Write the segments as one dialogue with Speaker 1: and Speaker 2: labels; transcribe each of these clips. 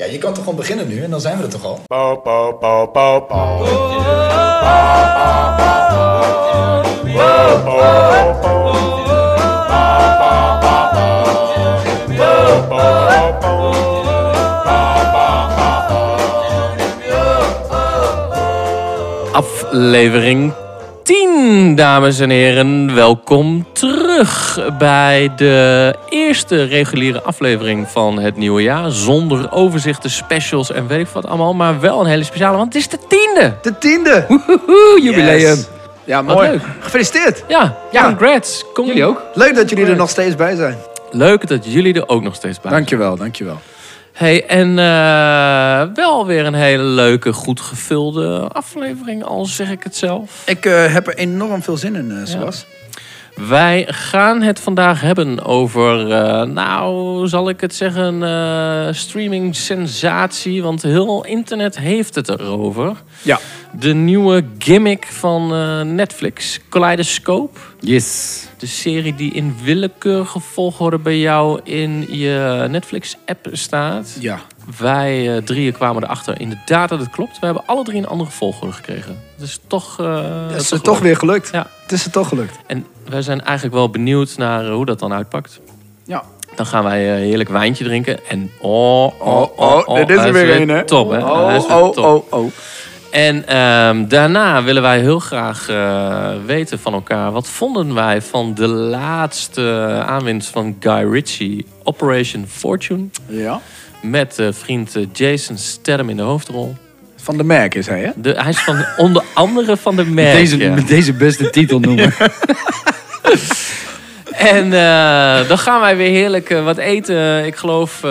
Speaker 1: Ja, je kan toch gewoon beginnen nu en dan zijn we er toch al?
Speaker 2: Bow, bow, bow, bow, bow.
Speaker 3: Aflevering 10, dames en heren. Welkom terug bij de eerste reguliere aflevering van het nieuwe jaar. Zonder overzichten, specials en weet ik wat allemaal. Maar wel een hele speciale, want het is de tiende.
Speaker 4: De tiende!
Speaker 3: Woehoe, jubileum.
Speaker 4: Yes. Ja,
Speaker 3: Wat
Speaker 4: mooi.
Speaker 3: leuk.
Speaker 4: Gefeliciteerd!
Speaker 3: Ja,
Speaker 4: Ja.
Speaker 3: congrats. Kom jullie ook.
Speaker 4: Leuk dat jullie er nog steeds bij zijn.
Speaker 3: Leuk dat jullie er ook nog steeds bij zijn.
Speaker 4: Dankjewel, dankjewel.
Speaker 3: Hey, en eh, wel weer een hele leuke, goed gevulde aflevering, al zeg ik het zelf.
Speaker 4: Ik eh, heb er enorm veel zin in, eh Sebas.
Speaker 3: Wij gaan het vandaag hebben over, eh, nou zal ik het zeggen, eh, streaming sensatie. Want heel internet heeft het erover.
Speaker 4: Ja.
Speaker 3: De nieuwe gimmick van eh, Netflix, Kaleidoscope.
Speaker 4: Yes.
Speaker 3: De serie die in willekeurige volgorde bij jou in je Netflix-app staat.
Speaker 4: Ja.
Speaker 3: Wij eh, drieën kwamen erachter inderdaad dat het klopt. We hebben alle drie een andere volgorde gekregen. Dus toch... eh,
Speaker 4: Het is er toch weer gelukt.
Speaker 3: Ja.
Speaker 4: Het is er toch gelukt.
Speaker 3: En wij zijn eigenlijk wel benieuwd naar eh, hoe dat dan uitpakt.
Speaker 4: Ja.
Speaker 3: Dan gaan wij eh, heerlijk wijntje drinken. En oh, oh, oh,
Speaker 4: oh, dit is er
Speaker 3: hij
Speaker 4: weer een, hè?
Speaker 3: Top, hè? Hij is
Speaker 4: Oh,
Speaker 3: weer
Speaker 4: oh,
Speaker 3: top.
Speaker 4: oh, oh.
Speaker 3: En ehm, daarna willen wij heel graag eh, weten van elkaar... wat vonden wij van de laatste aanwinst van Guy Ritchie... Operation Fortune,
Speaker 4: Ja.
Speaker 3: met eh, vriend eh, Jason Statham in de hoofdrol.
Speaker 4: Van de merk is hij, hè?
Speaker 3: De, hij is van onder andere van de merk. ja.
Speaker 4: deze beste titel noemen.
Speaker 3: En eh, dan gaan wij weer heerlijk eh, wat eten. Ik geloof eh,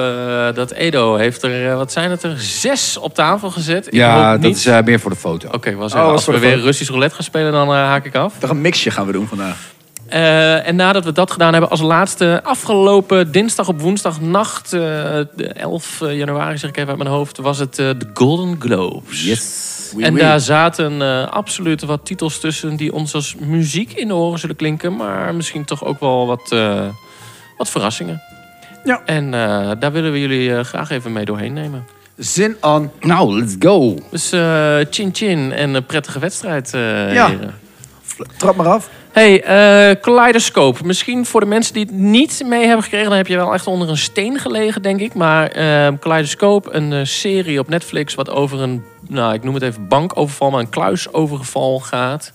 Speaker 3: dat Edo heeft er, eh, wat zijn het er, zes op tafel gezet. Ik
Speaker 5: Ja,
Speaker 3: hoop
Speaker 5: dat
Speaker 3: niet-
Speaker 5: is eh, meer voor de foto.
Speaker 3: Oké, was
Speaker 4: was
Speaker 3: als
Speaker 4: voor
Speaker 3: we
Speaker 4: de
Speaker 3: weer
Speaker 4: foto.
Speaker 3: Russisch roulette gaan spelen, dan eh, haak ik af.
Speaker 4: Toch een mixje gaan we doen vandaag.
Speaker 3: Eh, en nadat we dat gedaan hebben als laatste, afgelopen dinsdag op woensdagnacht, eh, de 11 januari zeg ik even uit mijn hoofd, was het eh, de Golden Globes.
Speaker 5: Yes.
Speaker 4: Oui,
Speaker 3: en
Speaker 4: oui.
Speaker 3: daar zaten eh, absoluut wat titels tussen die ons als muziek in de oren zullen klinken, maar misschien toch ook wel wat, eh, wat verrassingen.
Speaker 4: Ja.
Speaker 3: En eh, daar willen we jullie eh, graag even mee doorheen nemen.
Speaker 4: Zin aan.
Speaker 5: Nou, let's go.
Speaker 3: Dus eh, chin chin en een prettige wedstrijd, eh
Speaker 4: Ja.
Speaker 3: heren.
Speaker 4: Trap maar af.
Speaker 3: Hey, eh Kaleidoscope. Misschien voor de mensen die het niet mee hebben gekregen, dan heb je wel echt onder een steen gelegen, denk ik. Maar eh, Kaleidoscope, een eh, serie op Netflix wat over een, nou ik noem het even bankoverval, maar een kluisoverval gaat.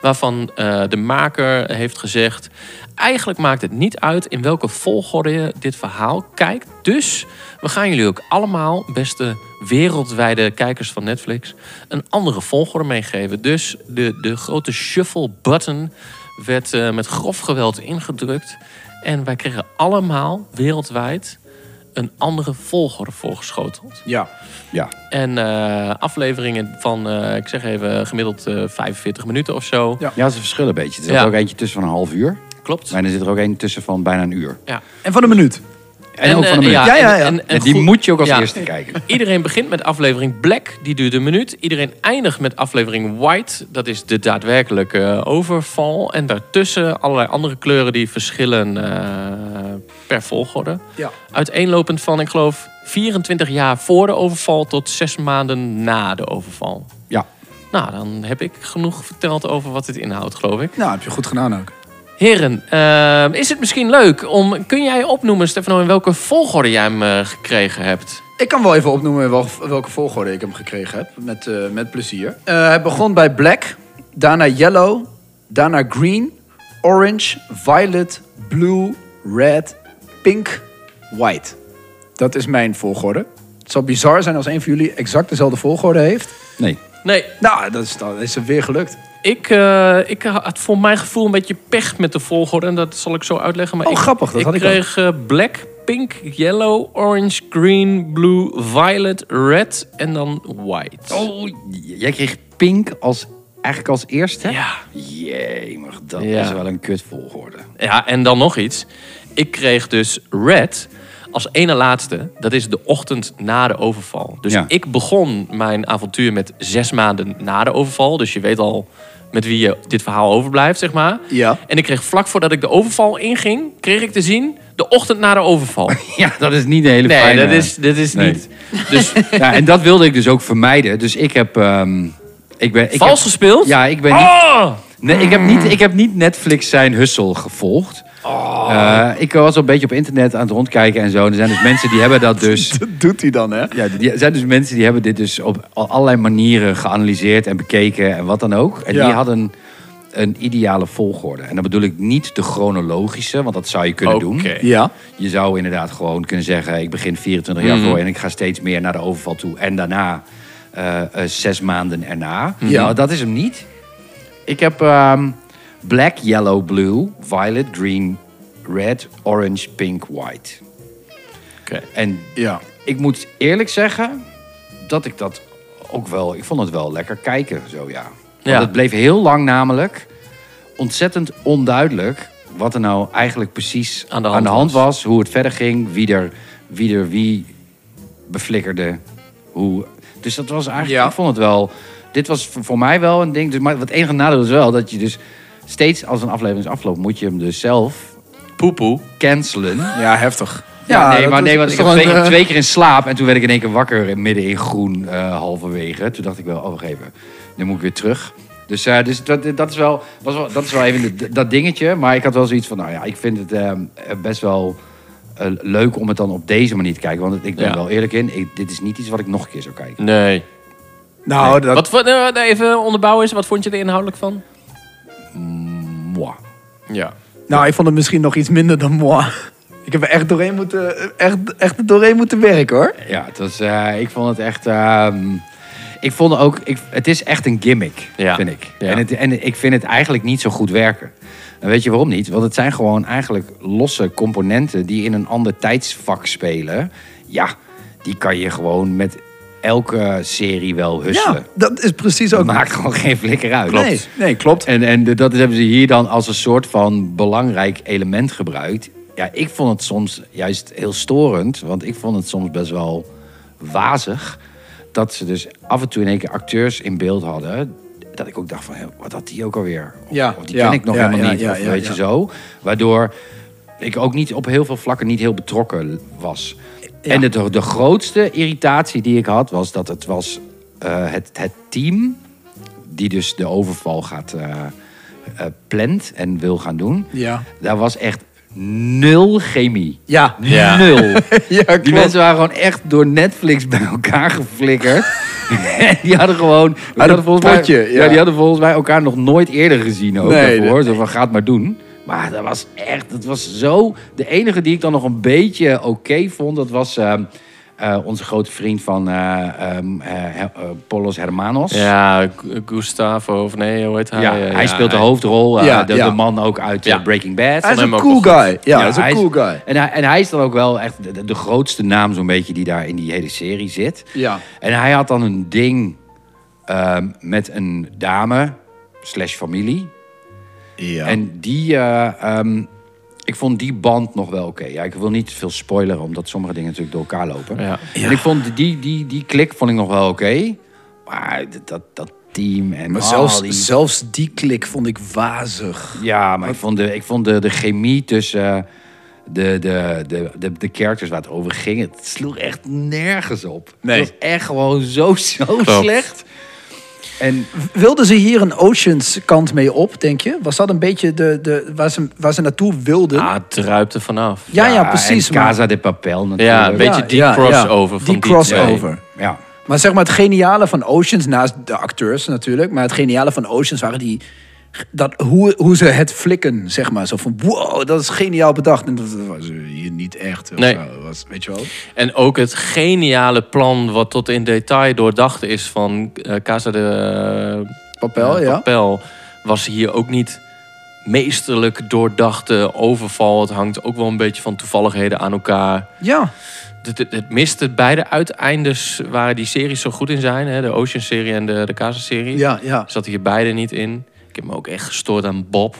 Speaker 3: Waarvan eh, de maker heeft gezegd: eigenlijk maakt het niet uit in welke volgorde je dit verhaal kijkt. Dus we gaan jullie ook allemaal, beste wereldwijde kijkers van Netflix, een andere volgorde meegeven. Dus de, de grote shuffle button werd eh, met grof geweld ingedrukt. En wij kregen allemaal wereldwijd een andere volgorde voorgeschoteld.
Speaker 4: Ja.
Speaker 5: Ja.
Speaker 3: En eh, afleveringen van, eh, ik zeg even, gemiddeld eh, 45 minuten of zo.
Speaker 4: Ja.
Speaker 5: Ja, ze verschillen een beetje. Er zit
Speaker 3: Ja.
Speaker 5: ook eentje tussen van een half uur.
Speaker 3: Klopt.
Speaker 5: En er zit er ook eentje tussen van bijna een uur.
Speaker 3: Ja.
Speaker 4: En van een minuut.
Speaker 5: En, ook van een
Speaker 3: eh,
Speaker 5: minuut.
Speaker 4: Ja, ja, ja.
Speaker 5: En die
Speaker 3: goed-
Speaker 5: moet je ook als
Speaker 3: ja.
Speaker 5: eerste kijken.
Speaker 3: Iedereen begint met aflevering Black, die duurt een minuut. Iedereen eindigt met aflevering White, dat is de daadwerkelijke eh, overval. En daartussen allerlei andere kleuren die verschillen eh, per volgorde.
Speaker 4: Ja.
Speaker 3: Uiteenlopend van, ik geloof, 24 jaar voor de overval tot zes maanden na de overval.
Speaker 5: Ja.
Speaker 3: Nou, dan heb ik genoeg verteld over wat dit inhoudt, geloof ik.
Speaker 4: Nou, heb je goed gedaan ook.
Speaker 3: Heren, eh, is het misschien leuk om... Kun jij opnoemen, Stefano, in welke volgorde jij hem eh, gekregen hebt?
Speaker 4: Ik kan wel even opnoemen wel- welke volgorde ik hem gekregen heb. Met, eh, met plezier. Eh, hij begon bij black, daarna yellow, daarna green, orange, violet, blue, red, pink, white. Dat is mijn volgorde. Het zal bizar zijn als een van jullie exact dezelfde volgorde heeft.
Speaker 5: Nee.
Speaker 3: Nee,
Speaker 4: Nou, dat is, dat is weer gelukt.
Speaker 3: ik, eh, ik had voor mijn gevoel een beetje pech met de volgorde. En dat zal ik zo uitleggen. Maar
Speaker 4: Oh,
Speaker 3: ik,
Speaker 4: grappig, dat
Speaker 3: ik
Speaker 4: had ik
Speaker 3: kreeg eh, black, pink, yellow, orange, green, blue, violet, red en dan white.
Speaker 5: Oh, j- jij kreeg pink als, eigenlijk als eerste?
Speaker 3: Ja.
Speaker 5: Jemig, dat
Speaker 3: Ja.
Speaker 5: is wel een kut volgorde.
Speaker 3: Ja, en dan nog iets. Ik kreeg dus Red als ene laatste. Dat is de ochtend na de overval. Dus
Speaker 5: Ja.
Speaker 3: ik begon mijn avontuur met zes maanden na de overval. Dus je weet al met wie je dit verhaal overblijft, zeg maar.
Speaker 4: Ja.
Speaker 3: En ik kreeg vlak voordat ik de overval inging, kreeg ik te zien... De ochtend na de overval.
Speaker 5: Ja, dat is niet een hele
Speaker 3: Nee,
Speaker 5: fijne...
Speaker 3: dat is, dat is
Speaker 5: Nee.
Speaker 3: niet. Dus
Speaker 5: Ja, en dat wilde ik dus ook vermijden. Dus ik heb... ehm, ik ben, ik
Speaker 3: vals
Speaker 5: heb-
Speaker 3: gespeeld?
Speaker 5: Ja, ik ben niet...
Speaker 3: Oh!
Speaker 5: Nee, ik, heb niet, ik heb niet Netflix zijn hustle gevolgd.
Speaker 3: Oh.
Speaker 5: Eh, ik was al een beetje op internet aan het rondkijken en zo. En er zijn dus mensen die hebben dat dus...
Speaker 4: Dat doet hij dan, hè?
Speaker 5: Ja, die- er zijn dus mensen die hebben dit dus op al- allerlei manieren geanalyseerd en bekeken en wat dan ook. En
Speaker 4: Ja.
Speaker 5: die hadden een ideale volgorde. En dan bedoel ik niet de chronologische, want dat zou je kunnen doen.
Speaker 3: Oké.
Speaker 4: Ja.
Speaker 5: Je zou inderdaad gewoon kunnen zeggen... ik begin 24 jaar voor en ik ga steeds meer naar de overval toe. En daarna eh, eh, zes maanden erna.
Speaker 4: Ja.
Speaker 5: Nou, dat is hem niet. Ik heb ehm, black, yellow, blue, violet, green, red, orange, pink, white.
Speaker 3: Oké.
Speaker 5: En
Speaker 4: Ja.
Speaker 5: ik moet eerlijk zeggen dat ik dat ook wel... Ik vond het wel lekker kijken, zo ja. Want
Speaker 3: Ja.
Speaker 5: het bleef heel lang namelijk ontzettend onduidelijk... wat er nou eigenlijk precies aan de hand, was. Hoe het verder ging, wie er wie, er wie beflikkerde. Hoe... Dus dat was eigenlijk...
Speaker 4: Ja.
Speaker 5: Ik vond het wel... Dit was voor- voor mij wel een ding. Dus, maar het enige nadeel is wel dat je dus... Steeds als een aflevering is afloopt, moet je hem dus zelf
Speaker 3: Poepoe.
Speaker 5: cancelen.
Speaker 4: Ja, heftig.
Speaker 5: Ja, nee,
Speaker 4: dat
Speaker 5: maar,
Speaker 4: is-
Speaker 5: nee, want
Speaker 4: is
Speaker 5: ik was
Speaker 4: toch
Speaker 5: twee,
Speaker 4: een, eh,
Speaker 5: twee keer in slaap en toen werd ik in één keer wakker in- midden in groen eh, halverwege. Toen dacht ik wel, oh wacht even, nu moet ik weer terug. Dus, eh, dus dat, dat, is wel, was wel, dat is wel even de- dat dingetje. Maar ik had wel zoiets van, nou ja, ik vind het eh, best wel eh, leuk om het dan op deze manier te kijken. Want ik ben
Speaker 3: Ja.
Speaker 5: er wel eerlijk in, ik- dit is niet iets wat ik nog een keer zou kijken.
Speaker 3: Nee.
Speaker 4: Nou, dat...
Speaker 3: Wat, vond- eh, even onderbouwen is, wat vond je er inhoudelijk van?
Speaker 5: Mwah.
Speaker 3: Ja.
Speaker 4: Nou, ik vond het misschien nog iets minder dan moi. Ik heb er echt doorheen moeten, echt, echt doorheen moeten werken, hoor.
Speaker 5: Ja, het was, eh, ik vond het echt... ehm, ik vond ook, ik, het is echt een gimmick,
Speaker 3: Ja.
Speaker 5: vind ik.
Speaker 3: Ja.
Speaker 5: En, het, en ik vind het eigenlijk niet zo goed werken. En weet je waarom niet? Want het zijn gewoon eigenlijk losse componenten die in een ander tijdsvak spelen. Ja, die kan je gewoon met elke serie wel
Speaker 4: Ja,
Speaker 5: husselen.
Speaker 4: dat is precies
Speaker 5: Dat
Speaker 4: ook...
Speaker 5: maakt gewoon geen flikker uit.
Speaker 4: Nee, nee, klopt.
Speaker 5: En, en de- dat hebben ze hier dan als een soort van belangrijk element gebruikt. Ja, ik vond het soms juist heel storend. Want ik vond het soms best wel wazig. Dat ze dus af en toe in één keer acteurs in beeld hadden. Dat ik ook dacht van, hé, wat had die ook alweer? Of,
Speaker 4: Ja,
Speaker 5: of die
Speaker 4: ja,
Speaker 5: ken ik nog
Speaker 4: ja,
Speaker 5: helemaal
Speaker 4: ja,
Speaker 5: niet.
Speaker 4: ja,
Speaker 5: of
Speaker 4: ja,
Speaker 5: weet
Speaker 4: ja.
Speaker 5: je zo. Waardoor ik ook niet op heel veel vlakken niet heel betrokken was. En de, de grootste irritatie die ik had was dat het was eh, het, het team die dus de overval gaat eh eh, plant en wil gaan doen.
Speaker 4: Ja.
Speaker 5: Daar was echt nul chemie.
Speaker 4: Ja.
Speaker 3: Ja.
Speaker 5: Nul.
Speaker 4: Ja, klopt.
Speaker 5: Die mensen waren gewoon echt door Netflix bij elkaar geflikkerd. En die hadden gewoon... die volgens
Speaker 4: potje,
Speaker 5: mij,
Speaker 4: ja.
Speaker 5: die hadden volgens mij elkaar nog nooit eerder gezien ook
Speaker 4: Nee,
Speaker 5: daarvoor.
Speaker 4: nee.
Speaker 5: Zo van, ga het maar doen. Maar dat was echt... Dat was zo... De enige die ik dan nog een beetje oké vond, dat was... ehm, eh, onze grote vriend van eh, ehm, eh, Her- eh, Polos Hermanos.
Speaker 3: Ja, Gu- Gustavo, of nee, hoe heet hij?
Speaker 5: Ja,
Speaker 3: Eh,
Speaker 5: hij speelt de hoofdrol. eh,
Speaker 4: Ja,
Speaker 5: de,
Speaker 4: ja.
Speaker 5: de man ook uit eh,
Speaker 3: Ja.
Speaker 5: Breaking Bad.
Speaker 4: Hij
Speaker 3: hem
Speaker 4: is een
Speaker 3: ook
Speaker 4: cool
Speaker 3: wel goed.
Speaker 4: guy. Ja, hij is een cool guy.
Speaker 5: En hij, en hij is dan ook wel echt de, de grootste naam zo'n beetje die daar in die hele serie zit.
Speaker 4: Ja.
Speaker 5: En hij had dan een ding ehm, met een dame slash familie.
Speaker 4: Ja.
Speaker 5: En die, eh, ehm, ik vond die band nog wel oké. Ja, ik wil niet veel spoileren, omdat sommige dingen natuurlijk door elkaar lopen.
Speaker 3: Ja.
Speaker 5: En ik vond die, die, die klik vond ik nog wel oké. Maar dat, dat, dat team en
Speaker 4: Maar
Speaker 5: al
Speaker 4: zelfs,
Speaker 5: die...
Speaker 4: zelfs Oh, die klik vond ik wazig.
Speaker 5: Ja, maar ik vond de, ik vond de, de chemie tussen eh, de, de, de, de, de characters waar het over ging, het sloeg echt nergens op.
Speaker 4: Nee.
Speaker 5: Het was echt gewoon zo, zo slecht. En
Speaker 4: Wilden ze hier een Oceans kant mee op, denk je? Was dat een beetje de, de, waar, ze, waar ze naartoe wilden?
Speaker 3: Ah, het druipt er vanaf.
Speaker 4: ja, ja, precies.
Speaker 5: En
Speaker 4: maar-
Speaker 5: Casa de Papel natuurlijk.
Speaker 3: Ja, een beetje die crossover van die
Speaker 4: Die
Speaker 3: twee.
Speaker 4: crossover.
Speaker 5: Ja.
Speaker 4: Maar zeg maar, het geniale van Oceans, naast de acteurs natuurlijk, maar het geniale van Oceans waren die. Dat, hoe, hoe ze het flikken, zeg maar. Zo van, wow, dat is geniaal bedacht. En dat was hier niet echt. of
Speaker 3: Nee.
Speaker 4: zo, Was, weet je wel?
Speaker 3: En ook het geniale plan wat tot in detail doordacht is van eh, Casa de
Speaker 4: Papel,
Speaker 3: eh,
Speaker 4: ja.
Speaker 3: Papel, was hier ook niet meesterlijk doordachte overval. Het hangt ook wel een beetje van toevalligheden aan elkaar.
Speaker 4: Ja,
Speaker 3: Het, het, het miste beide uiteindes waar die series zo goed in zijn. Hè? De Ocean-serie en de, de Casa-serie.
Speaker 4: ja, ja.
Speaker 3: Zat hier beide niet in. Ik heb me ook echt gestoord aan Bob.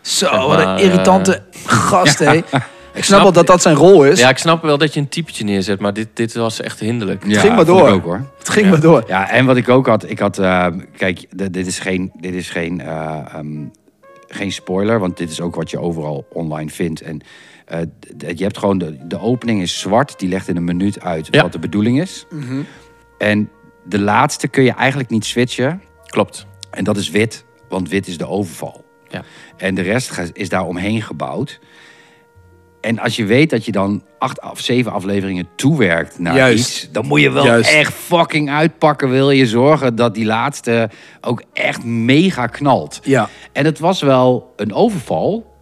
Speaker 4: Zo, wat
Speaker 3: maar,
Speaker 4: een irritante gast, hé. Ik snap
Speaker 3: snap-
Speaker 4: wel dat dat zijn rol is.
Speaker 3: Ja, ik snap wel dat je een typetje neerzet, maar dit, dit was echt hinderlijk.
Speaker 5: ja,
Speaker 4: ging maar
Speaker 5: vond ik
Speaker 4: door.
Speaker 5: ook, hoor.
Speaker 4: Het ging maar door.
Speaker 5: Ja, en wat ik ook had, ik had, eh, kijk, d- dit is geen, dit is geen, eh, ehm, geen spoiler, want dit is ook wat je overal online vindt. En eh, d- d- je hebt gewoon de, de opening is zwart, die legt in een minuut uit
Speaker 3: Ja. Mhm.
Speaker 5: wat de bedoeling is. En de laatste kun je eigenlijk niet switchen.
Speaker 3: Klopt.
Speaker 5: En dat is wit, want wit is de overval.
Speaker 3: Ja.
Speaker 5: En de rest ga- is daar omheen gebouwd. En als je weet dat je dan acht of zeven afleveringen toewerkt naar
Speaker 4: Juist.
Speaker 5: iets... dan moet je wel
Speaker 4: Juist.
Speaker 5: echt fucking uitpakken. Wil je zorgen dat die laatste ook echt mega knalt.
Speaker 4: Ja.
Speaker 5: En het was wel een overval,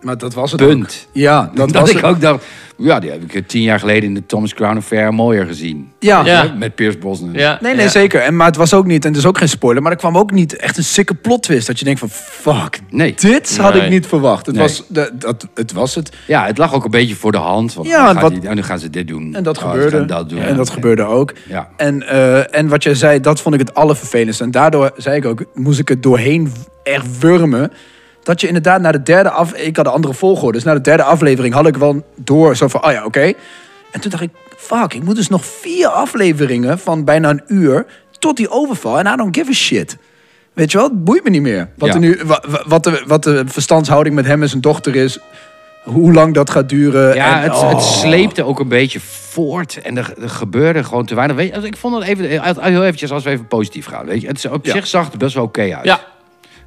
Speaker 4: Maar dat was het
Speaker 5: punt.
Speaker 4: ook. Ja,
Speaker 5: Dat,
Speaker 4: dat was
Speaker 5: ik
Speaker 4: het.
Speaker 5: ook dacht... ja, die heb ik eh, tien jaar geleden in de Thomas Crown Affair mooier gezien.
Speaker 4: Ja.
Speaker 3: Ja.
Speaker 5: Met Pierce Brosnan.
Speaker 3: Ja,
Speaker 4: Nee, nee,
Speaker 3: ja.
Speaker 4: zeker. En, maar het was ook niet, en het is ook geen spoiler, maar er kwam ook niet echt een sikke plot twist. Dat je denkt van, fuck,
Speaker 5: Nee.
Speaker 4: dit had
Speaker 3: Nee.
Speaker 4: ik niet verwacht. Het,
Speaker 5: Nee.
Speaker 4: was, de, dat, het was het.
Speaker 5: Ja, het lag ook een beetje voor de hand. Want
Speaker 4: Ja,
Speaker 5: ja,
Speaker 4: en wat-
Speaker 5: en nu gaan ze dit doen.
Speaker 4: En dat
Speaker 5: Oh, ze
Speaker 4: gebeurde.
Speaker 5: gaan dat doen.
Speaker 4: En dat gebeurde ook.
Speaker 5: Ja.
Speaker 4: En, eh, en wat jij zei, dat vond ik het allervervelendste. En daardoor zei ik ook, moest ik het doorheen echt wurmen. Dat je inderdaad naar de derde af... Ik had een andere volgorde. Dus na de derde aflevering had ik wel door. Zo van, ah ja, oké. En toen dacht ik, fuck, ik moet dus nog vier afleveringen van bijna een uur... tot die overval. En I don't give a shit. Weet je wel, het boeit me niet meer. Wat,
Speaker 5: Ja.
Speaker 4: er nu, wa- wa- wat, de, wat de verstandshouding met hem en zijn dochter is. Hoe lang dat gaat duren.
Speaker 5: Ja,
Speaker 4: en,
Speaker 5: het,
Speaker 4: oh.
Speaker 5: het sleepte ook een beetje voort. En er, er gebeurde gewoon te weinig. Weet je, ik vond het even, eh, heel eventjes, als we even positief gaan. Weet je, het, is- op
Speaker 4: Ja.
Speaker 5: zich zag het best wel oké uit.
Speaker 3: Ja,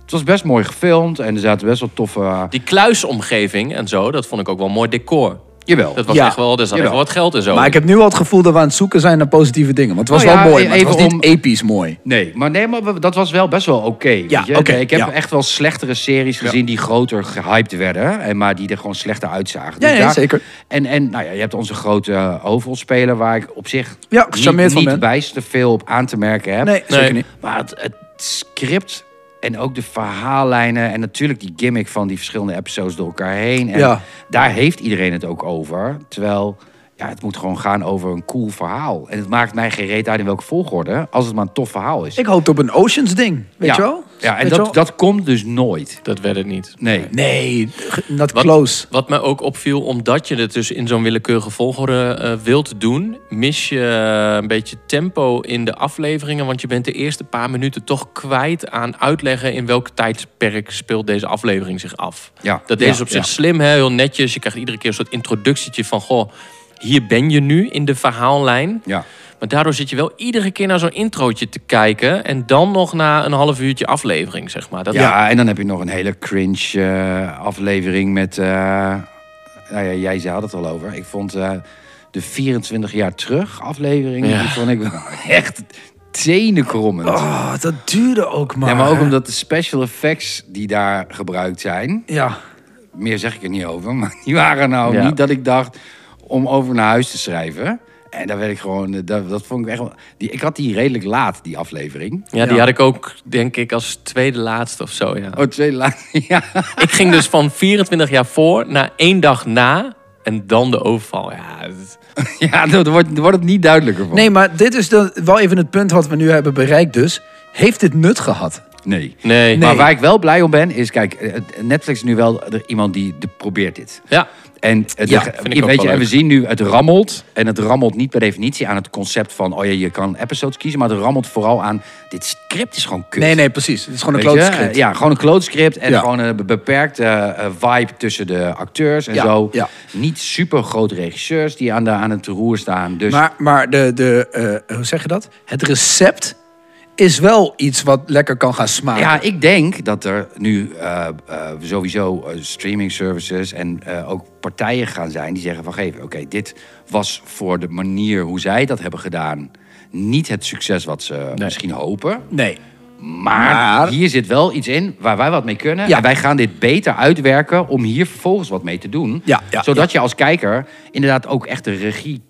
Speaker 5: Het was best mooi gefilmd en er zaten best wel toffe... eh,
Speaker 3: die kluisomgeving en zo, dat vond ik ook wel een mooi decor.
Speaker 5: Jawel.
Speaker 3: Dat was
Speaker 4: Ja.
Speaker 3: echt wel, er zat echt
Speaker 5: Jawel.
Speaker 3: wel wat geld en zo.
Speaker 4: Maar ik heb nu al het gevoel dat we aan het zoeken zijn naar positieve dingen. Want het was
Speaker 5: Nou ja,
Speaker 4: wel mooi, maar het was
Speaker 5: even
Speaker 4: niet
Speaker 5: om-
Speaker 4: episch mooi.
Speaker 5: Nee, maar, nee, maar we- dat was wel best wel oké. weet
Speaker 4: Ja,
Speaker 5: je.
Speaker 4: oké,
Speaker 5: Nee, ik heb
Speaker 4: ja.
Speaker 5: echt wel slechtere series gezien die groter gehyped werden, en maar die er gewoon slechter uitzagen. Dus
Speaker 4: Ja, ja, zeker.
Speaker 5: En, en nou ja, je hebt onze grote eh, hoofdrolspeler waar ik op zich
Speaker 4: Ja, gecharmeerd
Speaker 5: niet,
Speaker 4: van
Speaker 5: niet
Speaker 4: ben.
Speaker 5: bijster veel op aan te merken heb.
Speaker 4: Nee, zeker
Speaker 3: Nee.
Speaker 4: niet.
Speaker 5: Maar het, het script en ook de verhaallijnen en natuurlijk die gimmick van die verschillende episodes door elkaar heen. En
Speaker 4: Ja.
Speaker 5: daar heeft iedereen het ook over. Terwijl ja, het moet gewoon gaan over een cool verhaal. En het maakt mij geen reet uit in welke volgorde, als het maar een tof verhaal is.
Speaker 4: Ik hoopte op een Oceans ding, weet
Speaker 5: ja.
Speaker 4: je wel?
Speaker 5: Ja, en
Speaker 4: Weet je wel?
Speaker 5: dat, dat komt dus nooit.
Speaker 3: Dat werd het niet.
Speaker 5: Nee.
Speaker 4: Nee, g- not close.
Speaker 3: Wat me ook opviel, omdat je het dus in zo'n willekeurige volgorde eh, wilt doen, mis je eh, een beetje tempo in de afleveringen. Want je bent de eerste paar minuten toch kwijt aan uitleggen in welk tijdperk speelt deze aflevering zich af.
Speaker 5: Ja.
Speaker 3: Dat deze
Speaker 5: Ja,
Speaker 3: op zich
Speaker 5: ja.
Speaker 3: slim, hè, heel netjes. Je krijgt iedere keer een soort introductietje van, goh, hier ben je nu in de verhaallijn.
Speaker 5: Ja.
Speaker 3: Maar daardoor zit je wel iedere keer naar zo'n introotje te kijken. En dan nog na een half uurtje aflevering, zeg maar. Dat,
Speaker 5: Ja, en dan heb je nog een hele cringe eh, aflevering met... eh, nou ja, jij zei had het al over. Ik vond eh, de 24 jaar terug aflevering...
Speaker 3: Ja.
Speaker 5: die vond ik wel echt tenenkrommend.
Speaker 4: Oh, dat duurde ook maar.
Speaker 5: Ja, maar ook omdat de special effects die daar gebruikt zijn...
Speaker 4: Ja,
Speaker 5: meer zeg ik er niet over, maar die waren nou
Speaker 3: Ja.
Speaker 5: niet dat ik dacht om over naar huis te schrijven. En daar werd ik gewoon, eh, dat, dat vond ik echt wel. Die, ik had die redelijk laat, die aflevering.
Speaker 3: ja, die
Speaker 4: Ja.
Speaker 3: had ik ook, denk ik, als tweede laatste of zo, ja.
Speaker 5: Oh, twee laat. Ja.
Speaker 3: Ik ging dus van 24 jaar voor naar één dag na en dan de overval. Ja, dat is-
Speaker 5: ja, daar wordt, daar wordt het niet duidelijker van.
Speaker 4: nee, maar dit is dan wel even het punt wat we nu hebben bereikt dus. Heeft dit nut gehad?
Speaker 5: Nee.
Speaker 3: nee. Maar
Speaker 5: Maar
Speaker 3: wij-
Speaker 5: waar ik wel blij om ben, is kijk, eh, Netflix is nu wel er iemand die, die probeert dit.
Speaker 3: Ja,
Speaker 5: En, het,
Speaker 3: Ja,
Speaker 5: er-
Speaker 3: vind ik ook
Speaker 5: weet je,
Speaker 3: wel
Speaker 5: en we
Speaker 3: leuk.
Speaker 5: zien nu, het rammelt. En het rammelt niet per definitie aan het concept van... oh ja, je kan episodes kiezen. Maar het rammelt vooral aan... dit script is gewoon kut.
Speaker 4: Nee, nee, precies. Het is gewoon een
Speaker 5: Weet je?
Speaker 4: klote script.
Speaker 5: Ja, gewoon een klootscript en
Speaker 4: Ja.
Speaker 5: gewoon een be- beperkte eh, eh, vibe tussen de acteurs en
Speaker 4: Ja,
Speaker 5: zo.
Speaker 4: ja.
Speaker 5: Niet super grote regisseurs die aan, de, aan het roer staan. Dus
Speaker 4: Maar, maar de, de, eh, hoe zeg je dat? Het recept is wel iets wat lekker kan gaan smaken.
Speaker 5: ja, ik denk dat er nu eh, eh, sowieso eh, streaming services en eh, ook partijen gaan zijn die zeggen van... geef, oké, dit was voor de manier hoe zij dat hebben gedaan... niet het succes wat ze misschien hopen.
Speaker 4: Nee.
Speaker 5: Maar,
Speaker 4: Maar-
Speaker 5: hier zit wel iets in waar wij wat mee kunnen.
Speaker 4: Ja.
Speaker 5: En wij gaan dit beter uitwerken om hier vervolgens wat mee te doen.
Speaker 4: Ja, ja,
Speaker 5: zodat je als kijker inderdaad ook echt de regie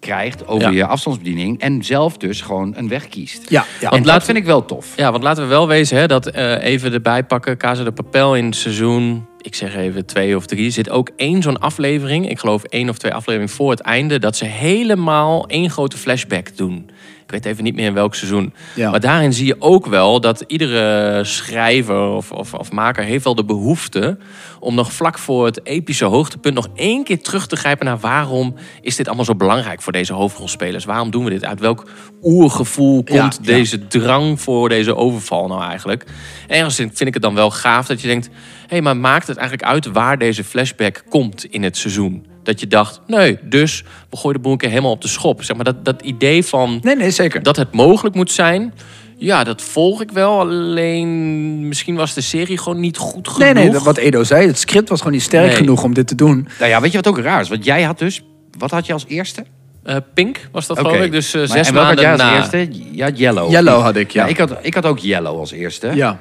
Speaker 5: krijgt over
Speaker 3: Ja.
Speaker 5: je afstandsbediening. En zelf dus gewoon een weg kiest.
Speaker 4: Ja, ja.
Speaker 5: En
Speaker 4: Want
Speaker 5: dat vind ik wel tof.
Speaker 3: ja, want laten we wel wezen hè, dat eh, even erbij pakken. Casa de Papel in seizoen, ik zeg even twee of drie, zit ook één zo'n aflevering. Ik geloof één of twee afleveringen voor het einde. Dat ze helemaal één grote flashback doen. Ik weet even niet meer in welk seizoen.
Speaker 4: Ja.
Speaker 3: Maar daarin zie je ook wel dat iedere schrijver of, of, of maker heeft wel de behoefte om nog vlak voor het epische hoogtepunt nog één keer terug te grijpen naar waarom is dit allemaal zo belangrijk voor deze hoofdrolspelers? Waarom doen we dit? Uit welk oergevoel
Speaker 4: Ja,
Speaker 3: komt
Speaker 4: ja.
Speaker 3: deze drang voor deze overval nou eigenlijk? Ergens vind ik het dan wel gaaf dat je denkt, hé, hey, maar maakt het eigenlijk uit waar deze flashback komt in het seizoen? Dat je dacht, nee, dus we gooien de boel een keer helemaal op de schop. Zeg maar dat, dat idee van
Speaker 4: Nee, nee, zeker.
Speaker 3: dat het mogelijk moet zijn. Ja, dat volg ik wel. Alleen misschien was de serie gewoon niet goed genoeg.
Speaker 4: nee, nee, dat- wat Edo zei, het script was gewoon niet sterk
Speaker 3: Nee.
Speaker 4: genoeg om dit te doen.
Speaker 5: Nou ja, weet je wat ook raar is? Want jij had dus... Wat had je als eerste?
Speaker 3: Eh, Pink was dat
Speaker 5: Oké.
Speaker 3: geloof ik. Dus eh,
Speaker 5: Maar-
Speaker 3: zes
Speaker 5: en welke had
Speaker 3: maanden
Speaker 5: jij als
Speaker 3: na.
Speaker 5: eerste? Ja, Yellow.
Speaker 4: Yellow had ik, ja.
Speaker 5: ik, had, ik had ook Yellow als eerste.
Speaker 4: Ja.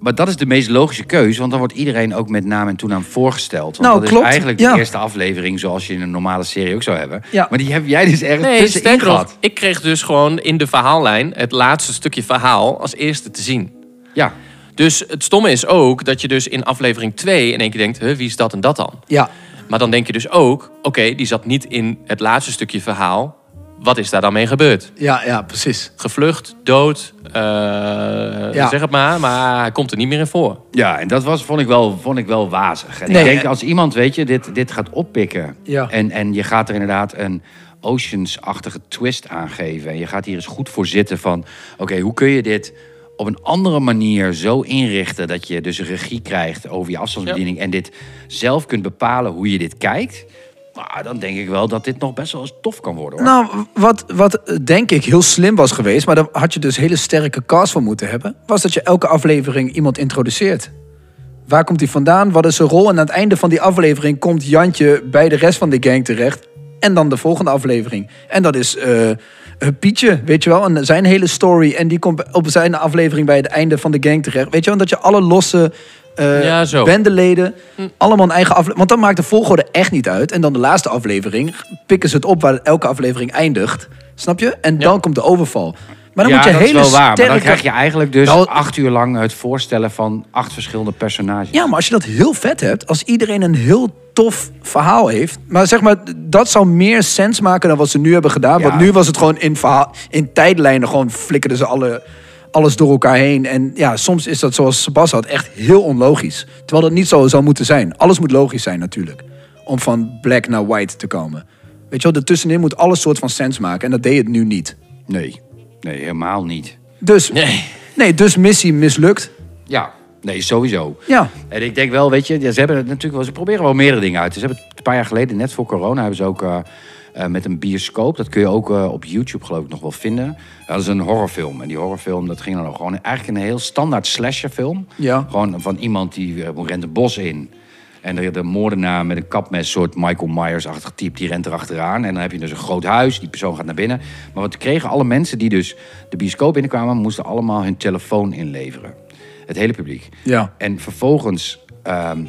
Speaker 5: Maar dat is de meest logische keuze, want dan wordt iedereen ook met naam en toenaam voorgesteld. Want
Speaker 4: Nou,
Speaker 5: dat
Speaker 4: klopt,
Speaker 5: is eigenlijk de
Speaker 4: ja.
Speaker 5: eerste aflevering zoals je in een normale serie ook zou hebben.
Speaker 4: Ja.
Speaker 5: Maar die heb jij dus ergens
Speaker 3: Nee,
Speaker 5: tussenin
Speaker 3: sterker nog,
Speaker 5: gehad.
Speaker 3: ik kreeg dus gewoon in de verhaallijn het laatste stukje verhaal als eerste te zien.
Speaker 5: Ja.
Speaker 3: Dus het stomme is ook dat je dus in aflevering 2 in één keer denkt, huh, wie is dat en dat dan?
Speaker 4: Ja,
Speaker 3: Maar dan denk je dus ook, oké, die zat niet in het laatste stukje verhaal. Wat is daar dan mee gebeurd?
Speaker 4: ja, ja, precies.
Speaker 3: gevlucht, dood, eh, zeg het maar, maar hij komt er niet meer in voor.
Speaker 5: Ja, en dat was, vond, ik wel, vond ik wel wazig. En
Speaker 4: Nee,
Speaker 5: ik denk,
Speaker 4: en-
Speaker 5: als iemand, weet je, dit, dit gaat oppikken...
Speaker 4: Ja.
Speaker 5: En, en je gaat er inderdaad een Oceans-achtige twist aan geven... en je gaat hier eens goed voor zitten van... oké, hoe kun je dit op een andere manier zo inrichten... dat je dus regie krijgt over je afstandsbediening... en dit zelf kunt bepalen hoe je dit kijkt... Nou, dan denk ik wel dat dit nog best wel eens tof kan worden. Hoor.
Speaker 4: Nou, wat, wat eh, denk ik heel slim was geweest, maar daar had je dus hele sterke cast voor moeten hebben, was dat je elke aflevering iemand introduceert. Waar komt hij vandaan? Wat is zijn rol? En aan het einde van die aflevering komt Jantje bij de rest van de gang terecht. En dan de volgende aflevering. En dat is eh, eh, Pietje, weet je wel? En zijn hele story. En die komt op zijn aflevering bij het einde van de gang terecht. Weet je wel? En dat je alle losse eh
Speaker 3: Ja, zo.
Speaker 4: bendeleden
Speaker 5: Hm.
Speaker 4: allemaal een eigen aflevering... Want dan maakt de volgorde echt niet uit. En dan de laatste aflevering pikken ze het op waar elke aflevering eindigt. Snap je? En dan komt de overval. Maar dan
Speaker 5: ja,
Speaker 4: moet je
Speaker 5: dat
Speaker 4: hele
Speaker 5: is wel waar. Maar dan
Speaker 4: sterke-
Speaker 5: krijg je eigenlijk dus
Speaker 4: Nou-
Speaker 5: acht uur lang het voorstellen van acht verschillende personages.
Speaker 4: Ja, maar als je dat heel vet hebt, als iedereen een heel tof verhaal heeft. Maar zeg maar, dat zou meer sens maken dan wat ze nu hebben gedaan.
Speaker 5: Ja.
Speaker 4: Want nu was het gewoon in, verhaal, in tijdlijnen, gewoon flikkerden ze alle, alles door elkaar heen. En ja, soms is dat zoals Sebas had, echt heel onlogisch. Terwijl dat niet zo zou moeten zijn. Alles moet logisch zijn natuurlijk. Om van black naar white te komen. Weet je wel, ertussenin moet alles soort van sens maken. En dat deed het nu niet.
Speaker 5: Nee, nee, helemaal niet.
Speaker 4: Dus,
Speaker 3: Nee.
Speaker 4: nee dus missie mislukt.
Speaker 5: Ja, nee, sowieso.
Speaker 4: Ja.
Speaker 5: En ik denk wel, weet je, ja, ze hebben het natuurlijk wel, ze proberen wel meerdere dingen uit. Ze hebben het een paar jaar geleden, net voor corona, hebben ze ook eh, eh, met een bioscoop, dat kun je ook eh, op YouTube geloof ik nog wel vinden. Dat is een horrorfilm. En die horrorfilm, dat ging dan ook gewoon eigenlijk een heel standaard slasherfilm.
Speaker 4: Ja.
Speaker 5: Gewoon van iemand die eh, rent een bos in. En de, de moordenaar met een kapmes, soort Michael Myers-achtig type, die rent erachteraan. En dan heb je dus een groot huis, die persoon gaat naar binnen. Maar wat kregen alle mensen die dus de bioscoop binnenkwamen, moesten allemaal hun telefoon inleveren. Het hele publiek.
Speaker 4: Ja.
Speaker 5: En vervolgens ehm,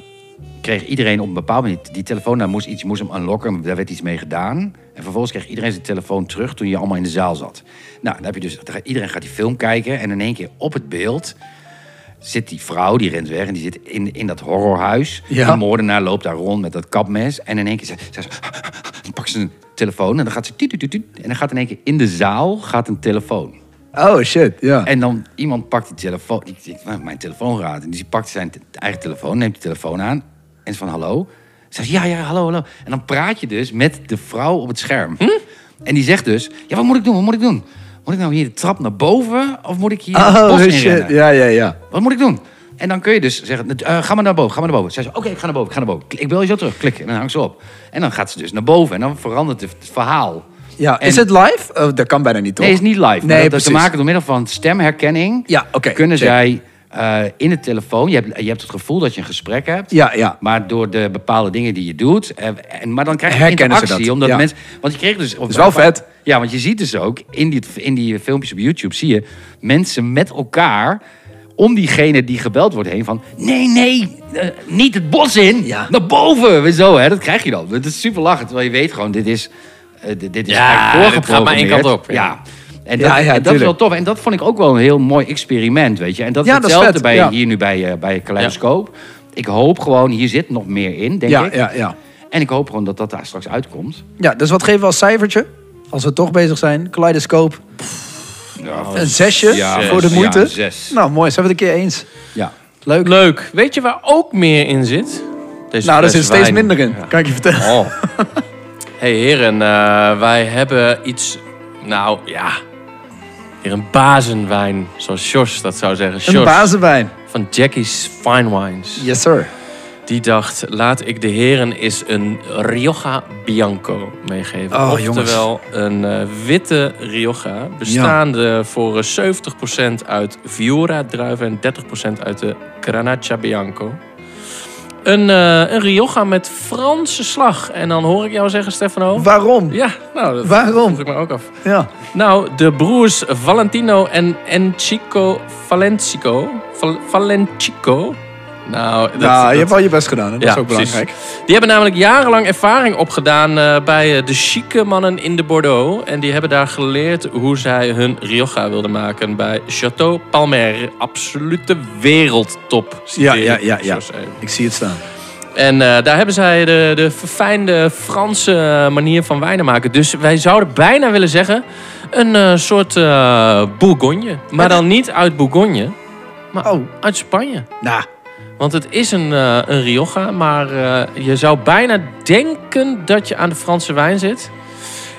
Speaker 5: kreeg iedereen op een bepaald moment die telefoon. Daar moest, iets, moest hem unlocken, daar werd iets mee gedaan. En vervolgens kreeg iedereen zijn telefoon terug toen je allemaal in de zaal zat. Nou, dan heb je dus, dan gaat- iedereen gaat die film kijken en in één keer op het beeld zit die vrouw, die rent weg en die zit in, in dat horrorhuis.
Speaker 4: Ja.
Speaker 5: Die moordenaar loopt daar rond met dat kapmes. En in één keer zegt zegt ze, dan pakt ze een telefoon en dan gaat ze... tuut, tuut, tuut, tuut. En dan gaat in één keer in de zaal gaat een telefoon.
Speaker 4: Oh shit, ja.
Speaker 5: En dan iemand pakt die telefoon. Ik denk, "Nou, mijn telefoon raad. En die pakt zijn te- eigen telefoon, neemt die telefoon aan. En is van hallo. Zegt ja, ja, hallo, hallo. En dan praat je dus met de vrouw op het scherm.
Speaker 4: Hm?
Speaker 5: En die zegt dus, ja, wat moet ik doen? Wat moet ik doen? Moet ik nou hier de trap naar boven? Of moet ik hier het
Speaker 4: Oh
Speaker 5: bos in
Speaker 4: shit,
Speaker 5: rennen?
Speaker 4: ja, ja, ja.
Speaker 5: Wat moet ik doen? En dan kun je dus zeggen, eh, ga maar naar boven, ga maar naar boven. Zij zegt, oké, ik ga naar boven, ik ga naar boven. Klik, Ik bel je zo terug, klik, en dan hangt ze op. En dan gaat ze dus naar boven en dan verandert het verhaal.
Speaker 4: Ja,
Speaker 5: En-
Speaker 4: is het live? Oh, dat kan bijna niet, toch?
Speaker 5: Nee, is niet live.
Speaker 4: Nee,
Speaker 5: Nee, dat
Speaker 4: precies.
Speaker 5: te maken door middel van stemherkenning.
Speaker 4: Ja, oké,
Speaker 5: Kunnen
Speaker 4: check.
Speaker 5: zij eh, in het telefoon, je hebt, je hebt het gevoel dat je een gesprek hebt.
Speaker 4: Ja, ja.
Speaker 5: Maar door de bepaalde dingen die je doet. eh, en, maar dan krijg je
Speaker 4: Herkennen ze
Speaker 5: interactie.
Speaker 4: dat,
Speaker 5: Omdat
Speaker 4: ja.
Speaker 5: mensen, want je kreeg dus... Dat
Speaker 4: is wel vet.
Speaker 5: Ja, want je ziet dus ook in die, in die filmpjes op YouTube... zie je mensen met elkaar om diegene die gebeld wordt heen van... Nee, nee, eh, niet het bos in,
Speaker 4: Ja.
Speaker 5: naar boven. Weer Zo, hè, dat krijg je dan. Dat is super lachen. Terwijl je weet gewoon, dit is... eh, dit, dit is
Speaker 3: Ja,
Speaker 5: eigenlijk
Speaker 3: dit gaat maar één
Speaker 5: voorgeprogrammeerd.
Speaker 3: kant op, ja.
Speaker 5: Ja. En dat,
Speaker 4: Ja, ja,
Speaker 5: en dat is wel
Speaker 4: tuurlijk.
Speaker 5: tof. En dat vond ik ook wel een heel mooi experiment, weet je. En dat is
Speaker 4: Ja, dat is
Speaker 5: hetzelfde
Speaker 4: vet,
Speaker 5: bij,
Speaker 4: ja.
Speaker 5: hier nu bij, eh bij Kaleidoscoop. Ik hoop gewoon, hier zit nog meer in, denk
Speaker 4: Ja,
Speaker 5: ik.
Speaker 4: ja, ja.
Speaker 5: En ik hoop gewoon dat dat daar straks uitkomt.
Speaker 4: Ja, dus wat geven we als cijfertje? Als we toch bezig zijn. Kaleidoscoop. Een zesje
Speaker 5: Ja,
Speaker 4: voor de
Speaker 5: zes.
Speaker 4: moeite.
Speaker 5: Ja, zes.
Speaker 4: Nou, mooi. Zijn we het een keer eens.
Speaker 5: Ja.
Speaker 4: Leuk.
Speaker 3: Leuk. Weet je waar ook meer in zit? Deze
Speaker 4: Nou, er
Speaker 3: fles
Speaker 4: zit steeds
Speaker 3: wijn.
Speaker 4: minder in. Kan ik je vertellen.
Speaker 3: Oh. hey heren, eh, wij hebben iets... Nou, ja... Hier een bazenwijn, zoals Jos dat zou zeggen.
Speaker 4: Een
Speaker 3: Jos
Speaker 4: bazenwijn.
Speaker 3: van Jackie's Fine Wines.
Speaker 4: Yes, sir.
Speaker 3: Die dacht, laat ik de heren eens een Rioja Bianco meegeven.
Speaker 4: Oh,
Speaker 3: Oftewel een eh, witte Rioja, bestaande voor eh, 70% uit Viura-druiven en 30% uit de Granaccia Bianco. Een, eh een Rioja met Franse slag. En dan hoor ik jou zeggen, Stefano...
Speaker 4: Waarom?
Speaker 3: ja, nou, dat
Speaker 4: Waarom?
Speaker 3: vroeg ik me ook af.
Speaker 4: Ja.
Speaker 3: Nou, de broers Valentino en Encico Valencico. Val- Valencico. Nou, dat,
Speaker 4: nou, je
Speaker 3: dat-
Speaker 4: hebt wel je best gedaan. hè. Dat
Speaker 3: Ja,
Speaker 4: is ook
Speaker 3: precies.
Speaker 4: belangrijk.
Speaker 3: die hebben namelijk jarenlang ervaring opgedaan eh, bij eh, de chique mannen in de Bordeaux. En die hebben daar geleerd hoe zij hun Rioja wilden maken bij Chateau Palmer. Absolute wereldtop. citeer
Speaker 4: Ja, ja,
Speaker 3: ik
Speaker 4: ja, ja.
Speaker 3: zo even.
Speaker 4: Ik zie het staan.
Speaker 3: En eh, daar hebben zij de, de verfijnde Franse eh, manier van wijnen maken. Dus wij zouden bijna willen zeggen een eh, soort eh, Bourgogne. Maar dan niet uit Bourgogne, maar
Speaker 4: Oh.
Speaker 3: uit Spanje.
Speaker 4: Nou,
Speaker 3: Want het is een, eh, een Rioja, maar eh, je zou bijna denken dat je aan de Franse wijn zit.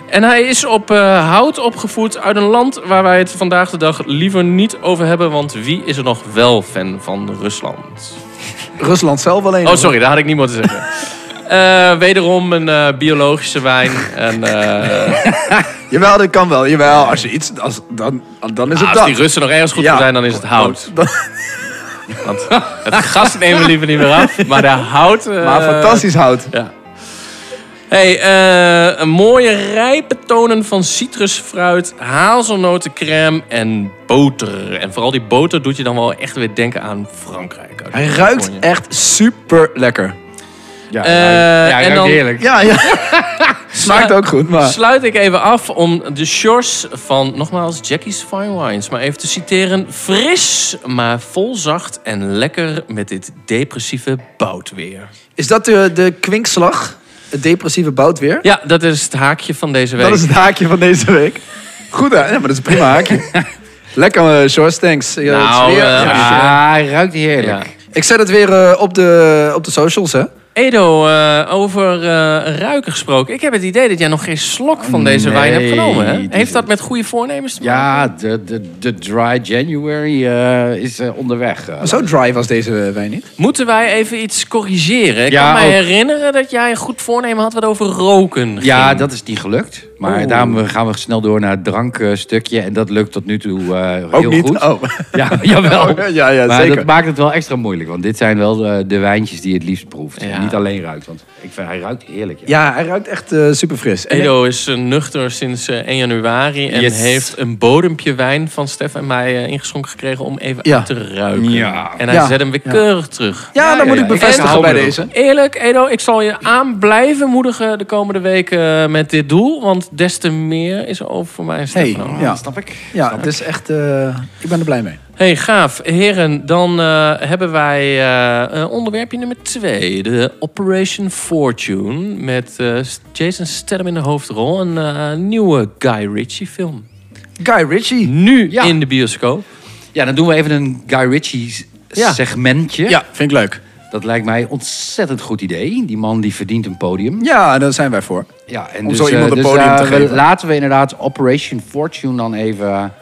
Speaker 3: En hij is op eh, hout opgevoed uit een land waar wij het vandaag de dag liever niet over hebben. Want wie is er nog wel fan van Rusland?
Speaker 4: Rusland zelf alleen.
Speaker 3: Oh, sorry, daar had ik niet moeten zeggen. Eh, wederom een eh, biologische wijn. En, eh,
Speaker 4: Jawel, dat kan wel. Jawel, als je iets... Als, dan, dan is het
Speaker 3: Ah, als
Speaker 4: dat.
Speaker 3: die Russen nog ergens goed
Speaker 4: Ja.
Speaker 3: voor zijn, dan is het hout.
Speaker 4: Dan-
Speaker 3: Want het gas nemen we liever niet meer af, maar de hout... eh,
Speaker 4: maar fantastisch hout.
Speaker 3: Ja. Hey, eh, een mooie rijpe tonen van citrusfruit, hazelnotencrème en boter. En vooral die boter doet je dan wel echt weer denken aan Frankrijk. Oh, uit
Speaker 4: Hij
Speaker 3: Bourgogne.
Speaker 4: ruikt echt super lekker.
Speaker 5: Ja,
Speaker 3: Eh,
Speaker 5: ja,
Speaker 3: en
Speaker 5: ruikt
Speaker 3: dan-
Speaker 5: heerlijk.
Speaker 4: Ja, ja. Smaakt ook goed, maar...
Speaker 3: Sluit ik even af om de shores van, nogmaals, Jackie's Fine Wines maar even te citeren. Fris, maar vol zacht en lekker met dit depressieve boutweer.
Speaker 4: Is dat de, de kwinkslag? Het depressieve boutweer?
Speaker 3: Ja, dat is het haakje van deze week.
Speaker 4: Dat is het haakje van deze week. Goed, hè? Ja, maar dat is een prima haakje. Lekker, eh Shores, thanks. Ja, het is
Speaker 3: Nou,
Speaker 4: weer-
Speaker 3: eh,
Speaker 4: ja.
Speaker 5: Ja, hij ruikt heerlijk.
Speaker 3: Ja.
Speaker 4: Ik zet het weer eh, op, de, op de socials, hè?
Speaker 3: Edo, eh, over eh, ruiken gesproken. Ik heb het idee dat jij nog geen slok van deze
Speaker 5: Nee,
Speaker 3: wijn hebt genomen. Hè?
Speaker 5: die
Speaker 3: Heeft
Speaker 5: is-
Speaker 3: dat met goede voornemens te maken?
Speaker 5: Ja, de, de, de dry January eh, is eh, onderweg. eh.
Speaker 4: Maar zo dry was deze wijn niet.
Speaker 3: Moeten wij even iets corrigeren? Ik
Speaker 5: Ja,
Speaker 3: kan mij
Speaker 5: ook.
Speaker 3: herinneren dat jij een goed voornemen had wat over roken
Speaker 5: ja,
Speaker 3: ging.
Speaker 5: dat is niet gelukt. Maar
Speaker 3: Oeh.
Speaker 5: daarom eh, gaan we snel door naar het drankstukje. En dat lukt tot nu toe eh, heel goed.
Speaker 4: Oh.
Speaker 5: Ja, jawel.
Speaker 4: Oh, ja, ja,
Speaker 5: maar
Speaker 4: zeker.
Speaker 5: dat maakt het wel extra moeilijk. Want dit zijn wel eh, de, de wijntjes die je het liefst proeft.
Speaker 3: Ja.
Speaker 5: En Niet alleen ruikt. Want ik vind, hij ruikt heerlijk. Ja.
Speaker 4: Ja, hij ruikt echt eh, super fris.
Speaker 3: Edo is eh, nuchter sinds eh, 1 januari en
Speaker 5: Yes.
Speaker 3: heeft een bodempje wijn van Stef en mij eh, ingeschonken gekregen om even
Speaker 4: Ja.
Speaker 3: uit te ruiken.
Speaker 5: Ja.
Speaker 3: En hij
Speaker 4: Ja.
Speaker 3: zet hem weer keurig terug.
Speaker 4: ja, dan
Speaker 5: ja,
Speaker 4: moet
Speaker 5: ja.
Speaker 4: ik
Speaker 5: Ik
Speaker 4: bevestigen
Speaker 5: hou
Speaker 4: bij
Speaker 5: me
Speaker 4: deze.
Speaker 3: Eerlijk, Edo, ik zal je aan blijven moedigen de komende weken eh, met dit doel. Want des te meer is er over voor mij. en
Speaker 4: Hey,
Speaker 3: Stefano.
Speaker 4: ja.
Speaker 5: Snap ik.
Speaker 4: ja, het is echt... eh, ik ben er blij mee.
Speaker 3: Hey, gaaf. Heren, dan eh, hebben wij eh, eh, onderwerpje nummer twee. De Operation Fortune met eh, Jason Statham in de hoofdrol. Een eh, nieuwe Guy Ritchie film.
Speaker 4: Guy Ritchie.
Speaker 3: Nu
Speaker 5: Ja.
Speaker 3: in de bioscoop.
Speaker 5: Ja, dan doen we even een Guy Ritchie s-
Speaker 3: Ja.
Speaker 5: segmentje.
Speaker 4: Ja, vind ik leuk.
Speaker 5: Dat lijkt mij een ontzettend goed idee. Die man die verdient een podium.
Speaker 4: Ja, daar zijn wij voor.
Speaker 5: Ja, en
Speaker 4: Om zo iemand
Speaker 5: eh,
Speaker 4: een podium
Speaker 5: eh,
Speaker 4: te
Speaker 5: we-
Speaker 4: geven.
Speaker 5: Laten we inderdaad Operation Fortune dan even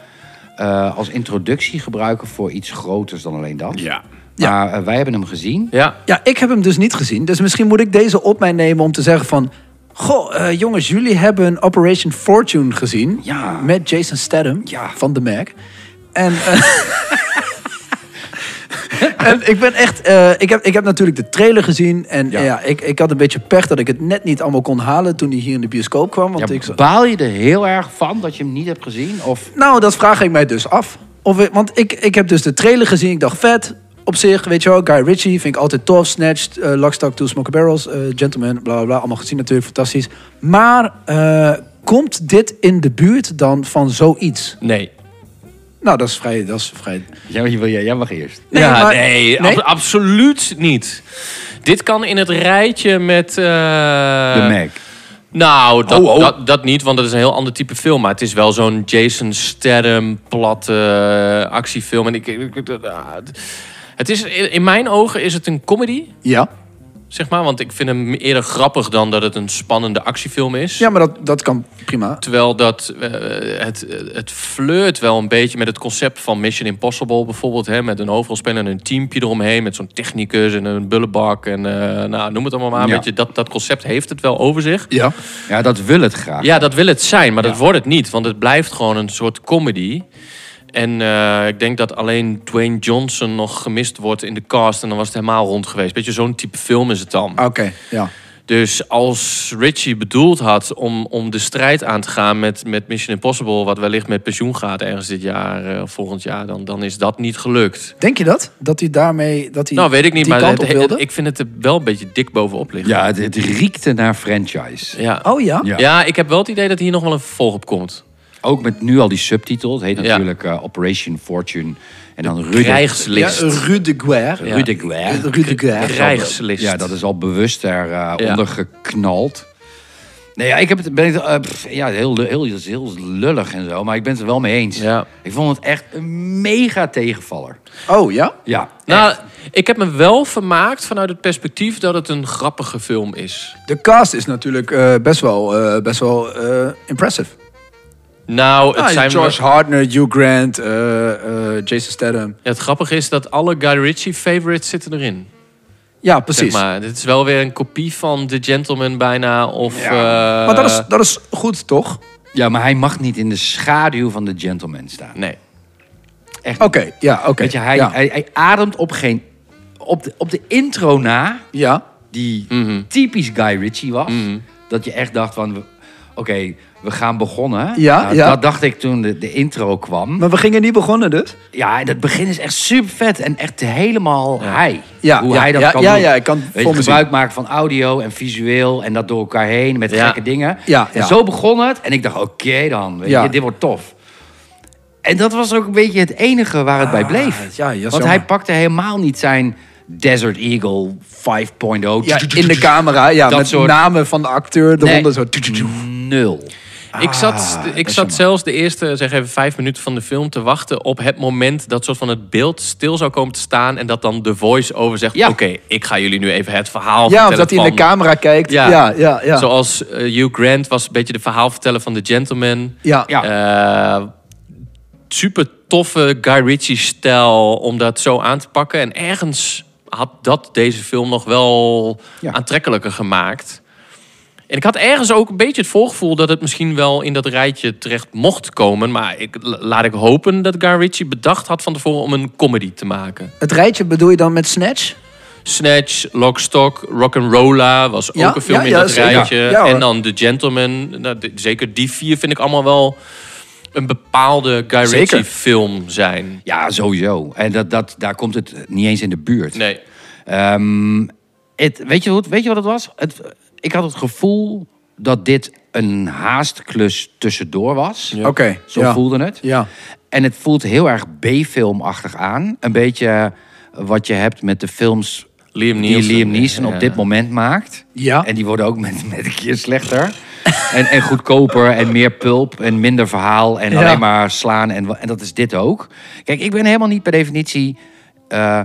Speaker 5: eh, als introductie gebruiken voor iets groters dan alleen dat.
Speaker 4: Ja.
Speaker 5: Maar eh, wij hebben hem gezien.
Speaker 3: Ja.
Speaker 4: Ja, ik heb hem dus niet gezien. Dus misschien moet ik deze op mij nemen om te zeggen van... Goh, eh, jongens, jullie hebben Operation Fortune gezien.
Speaker 5: Ja.
Speaker 4: Met Jason Statham
Speaker 5: Ja.
Speaker 4: van The Mac. En, eh, en ik ben echt... eh, ik, heb, ik heb natuurlijk de trailer gezien. En
Speaker 5: Ja.
Speaker 4: ja, ik, ik had een beetje pech dat ik het net niet allemaal kon halen... toen hij hier in de bioscoop kwam. Want
Speaker 5: Ja,
Speaker 4: ik, zo-
Speaker 5: baal je er heel erg van dat je hem niet hebt gezien? Of
Speaker 4: nou, dat vraag ik mij dus af. Of, ik- want ik, ik heb dus de trailer gezien. Ik dacht, vet. Op zich, weet je wel, Guy Ritchie vind ik altijd tof. Snatched, eh Lockstock, Two Smoking Barrels, eh, Gentleman, bla bla bla. Allemaal gezien natuurlijk, fantastisch. Maar eh, komt dit in de buurt dan van zoiets?
Speaker 3: Nee.
Speaker 4: Nou, dat is vrij... Dat is vrij...
Speaker 5: jij, wil- jij, jij mag eerst.
Speaker 4: Nee,
Speaker 3: ja,
Speaker 4: maar-
Speaker 3: nee,
Speaker 4: nee?
Speaker 3: ab- absoluut niet. Dit kan in het rijtje met... eh,
Speaker 5: De Mac.
Speaker 3: Nou, dat,
Speaker 5: Oh, oh.
Speaker 3: Dat, dat niet, want dat is een heel ander type film. Maar het is wel zo'n Jason Statham platte eh, actiefilm. En ik, ik- ik- ah, het- het is, in in mijn ogen is het een comedy,
Speaker 4: Ja.
Speaker 3: zeg maar. Want ik vind hem eerder grappig dan dat het een spannende actiefilm is.
Speaker 4: Ja, maar dat, dat kan prima.
Speaker 3: Terwijl dat, eh, het, het flirt wel een beetje met het concept van Mission Impossible bijvoorbeeld. Hè, met een hoofdrolspeler en een teampje eromheen. Met zo'n technicus en een bullebak. En eh, nou, noem het allemaal maar.
Speaker 5: Ja.
Speaker 3: Weet je, dat, dat concept heeft het wel over zich.
Speaker 4: Ja.
Speaker 5: Ja, dat wil het graag.
Speaker 3: Ja, dat wil het zijn, maar dat wordt het niet. Want het blijft gewoon een soort comedy. En eh, ik denk dat alleen Dwayne Johnson nog gemist wordt in de cast. En dan was het helemaal rond geweest. Beetje zo'n type film is het dan.
Speaker 4: Ah, Oké, ja.
Speaker 3: Dus als Richie bedoeld had om, om de strijd aan te gaan met, met Mission Impossible... wat wellicht met pensioen gaat ergens dit jaar, eh, volgend jaar... Dan, dan is dat niet gelukt.
Speaker 4: Denk je dat? Dat hij daarmee... Dat hij
Speaker 3: nou, weet ik niet,
Speaker 4: die
Speaker 3: maar
Speaker 4: kant
Speaker 3: het-
Speaker 4: op
Speaker 3: het-
Speaker 4: wilde?
Speaker 3: ik vind het er wel een beetje dik bovenop liggen.
Speaker 5: Ja, het, het riekte naar franchise.
Speaker 3: Ja.
Speaker 4: Oh ja?
Speaker 5: Ja.
Speaker 3: ja, ik heb wel het idee dat hier nog wel een vervolg op komt.
Speaker 5: Ook met nu al die subtitel. Het heet
Speaker 3: Ja.
Speaker 5: natuurlijk eh, Operation Fortune. En dan Rudig.
Speaker 4: Ja,
Speaker 3: Krijgslist.
Speaker 4: Rudeguer.
Speaker 3: Ja.
Speaker 5: Rudig Ware.
Speaker 4: Rudeguer.
Speaker 3: Krijgslist.
Speaker 5: Ja, dat is al bewust daaronder
Speaker 3: Ja.
Speaker 5: onder geknald. Nee, ja, ik heb het, ben het eh, pff, ja, heel, lu- heel, heel, heel lullig en zo, maar ik ben het er wel mee eens.
Speaker 3: Ja.
Speaker 5: Ik vond het echt een mega tegenvaller.
Speaker 4: Oh ja?
Speaker 5: Ja,
Speaker 3: Nou, ik heb me wel vermaakt vanuit het perspectief dat het een grappige film is.
Speaker 4: De cast is natuurlijk eh, best wel, eh, best wel eh, impressive.
Speaker 3: Nou, het,
Speaker 4: Ah,
Speaker 3: zijn
Speaker 4: George
Speaker 3: wel-
Speaker 4: Hartner, Hugh Grant, eh, eh, Jason Statham.
Speaker 3: Ja, het grappige is dat alle Guy Ritchie favorites zitten erin.
Speaker 4: Ja, precies.
Speaker 3: Zeg maar, dit is wel weer een kopie van The Gentleman bijna. Of, eh,
Speaker 4: Maar dat is, dat is goed, toch?
Speaker 5: ja, maar hij mag niet in de schaduw van de gentleman staan.
Speaker 3: Nee.
Speaker 5: Echt
Speaker 4: Oké, ja, oké.
Speaker 5: Weet je, hij,
Speaker 4: ja.
Speaker 5: hij, hij ademt op geen... Op de, op de intro na,
Speaker 4: ja.
Speaker 5: die typisch Guy Ritchie was... dat je echt dacht van... Oké, we gaan begonnen.
Speaker 4: Ja,
Speaker 5: Nou,
Speaker 4: ja.
Speaker 5: Dat dacht ik toen de, de intro kwam.
Speaker 4: Maar we gingen niet begonnen dus?
Speaker 5: Ja, en dat begin is echt super vet en echt helemaal hij.
Speaker 4: Ja,
Speaker 5: Hoe
Speaker 4: ja,
Speaker 5: hij dat
Speaker 4: ja,
Speaker 5: kan
Speaker 4: ja,
Speaker 5: doen.
Speaker 4: ja, ik kan
Speaker 5: Weet je,
Speaker 4: voor me zien.
Speaker 5: gebruik maken van audio en visueel en dat door elkaar heen met
Speaker 3: Ja.
Speaker 5: gekke dingen.
Speaker 4: Ja,
Speaker 5: en
Speaker 4: ja.
Speaker 5: zo begon het en ik dacht, oké dan, weet
Speaker 4: Ja.
Speaker 5: je, dit wordt tof. En dat was ook een beetje het enige waar het bij bleef.
Speaker 4: Ah, ja, ja,
Speaker 5: Want
Speaker 4: zomaar.
Speaker 5: hij pakte helemaal niet zijn Desert Eagle oh. 5.0.
Speaker 4: Ja, in de camera, ja,
Speaker 5: Dat
Speaker 4: met
Speaker 5: soort-
Speaker 4: namen van de acteur
Speaker 5: Nee.
Speaker 4: eronder. Zo.
Speaker 5: Nul.
Speaker 4: Ah,
Speaker 3: ik zat, ik zat zelfs de eerste, zeg even, vijf minuten van de film te wachten op het moment dat soort van het beeld stil zou komen te staan. En dat dan de voice-over zegt,
Speaker 5: Ja.
Speaker 3: oké, ik ga jullie nu even het verhaal
Speaker 4: Ja,
Speaker 3: vertellen
Speaker 4: omdat hij in de
Speaker 3: van-
Speaker 4: camera kijkt. Ja,
Speaker 3: Ja.
Speaker 4: ja, ja. ja.
Speaker 3: Zoals eh, Hugh Grant was een beetje de verhaalverteller van The Gentleman.
Speaker 4: ja.
Speaker 5: Ja.
Speaker 3: Eh, super toffe Guy Ritchie-stijl om dat zo aan te pakken. En ergens had dat deze film nog wel
Speaker 5: Ja.
Speaker 3: aantrekkelijker gemaakt. En ik had ergens ook een beetje het voorgevoel dat het misschien wel in dat rijtje terecht mocht komen. Maar ik, la- laat ik hopen dat Guy Ritchie bedacht had van tevoren om een comedy te maken.
Speaker 4: Het rijtje bedoel je dan met Snatch?
Speaker 3: Snatch, Lockstock, Rock'n'Rolla was
Speaker 4: Ja,
Speaker 3: ook een film
Speaker 4: ja,
Speaker 3: in
Speaker 4: ja,
Speaker 3: dat
Speaker 4: zeker.
Speaker 3: rijtje.
Speaker 4: Ja, hoor.
Speaker 3: en dan The Gentleman. Nou, de- zeker die vier vind ik allemaal wel een bepaalde Guy
Speaker 4: Zeker.
Speaker 3: Ritchie film zijn.
Speaker 5: Ja, sowieso. En dat, dat, daar komt het niet eens in de buurt.
Speaker 3: Nee.
Speaker 5: Ehm, het, weet, je wat, weet je wat het was? Het, ik had het gevoel dat dit een haastklus tussendoor was.
Speaker 4: Oké.
Speaker 5: Zo
Speaker 4: ja.
Speaker 5: voelde het.
Speaker 4: Ja.
Speaker 5: En het voelt heel erg B-filmachtig aan. Een beetje eh, wat je hebt met de films
Speaker 3: Liam
Speaker 5: die
Speaker 3: Neeson.
Speaker 5: Liam Neeson op
Speaker 3: Ja.
Speaker 5: dit moment maakt.
Speaker 4: Ja.
Speaker 5: En die worden ook met, met een keer slechter. en, en goedkoper en meer pulp en minder verhaal en
Speaker 4: Ja.
Speaker 5: alleen maar slaan. En, wa- en dat is dit ook. Kijk, ik ben helemaal niet per definitie eh,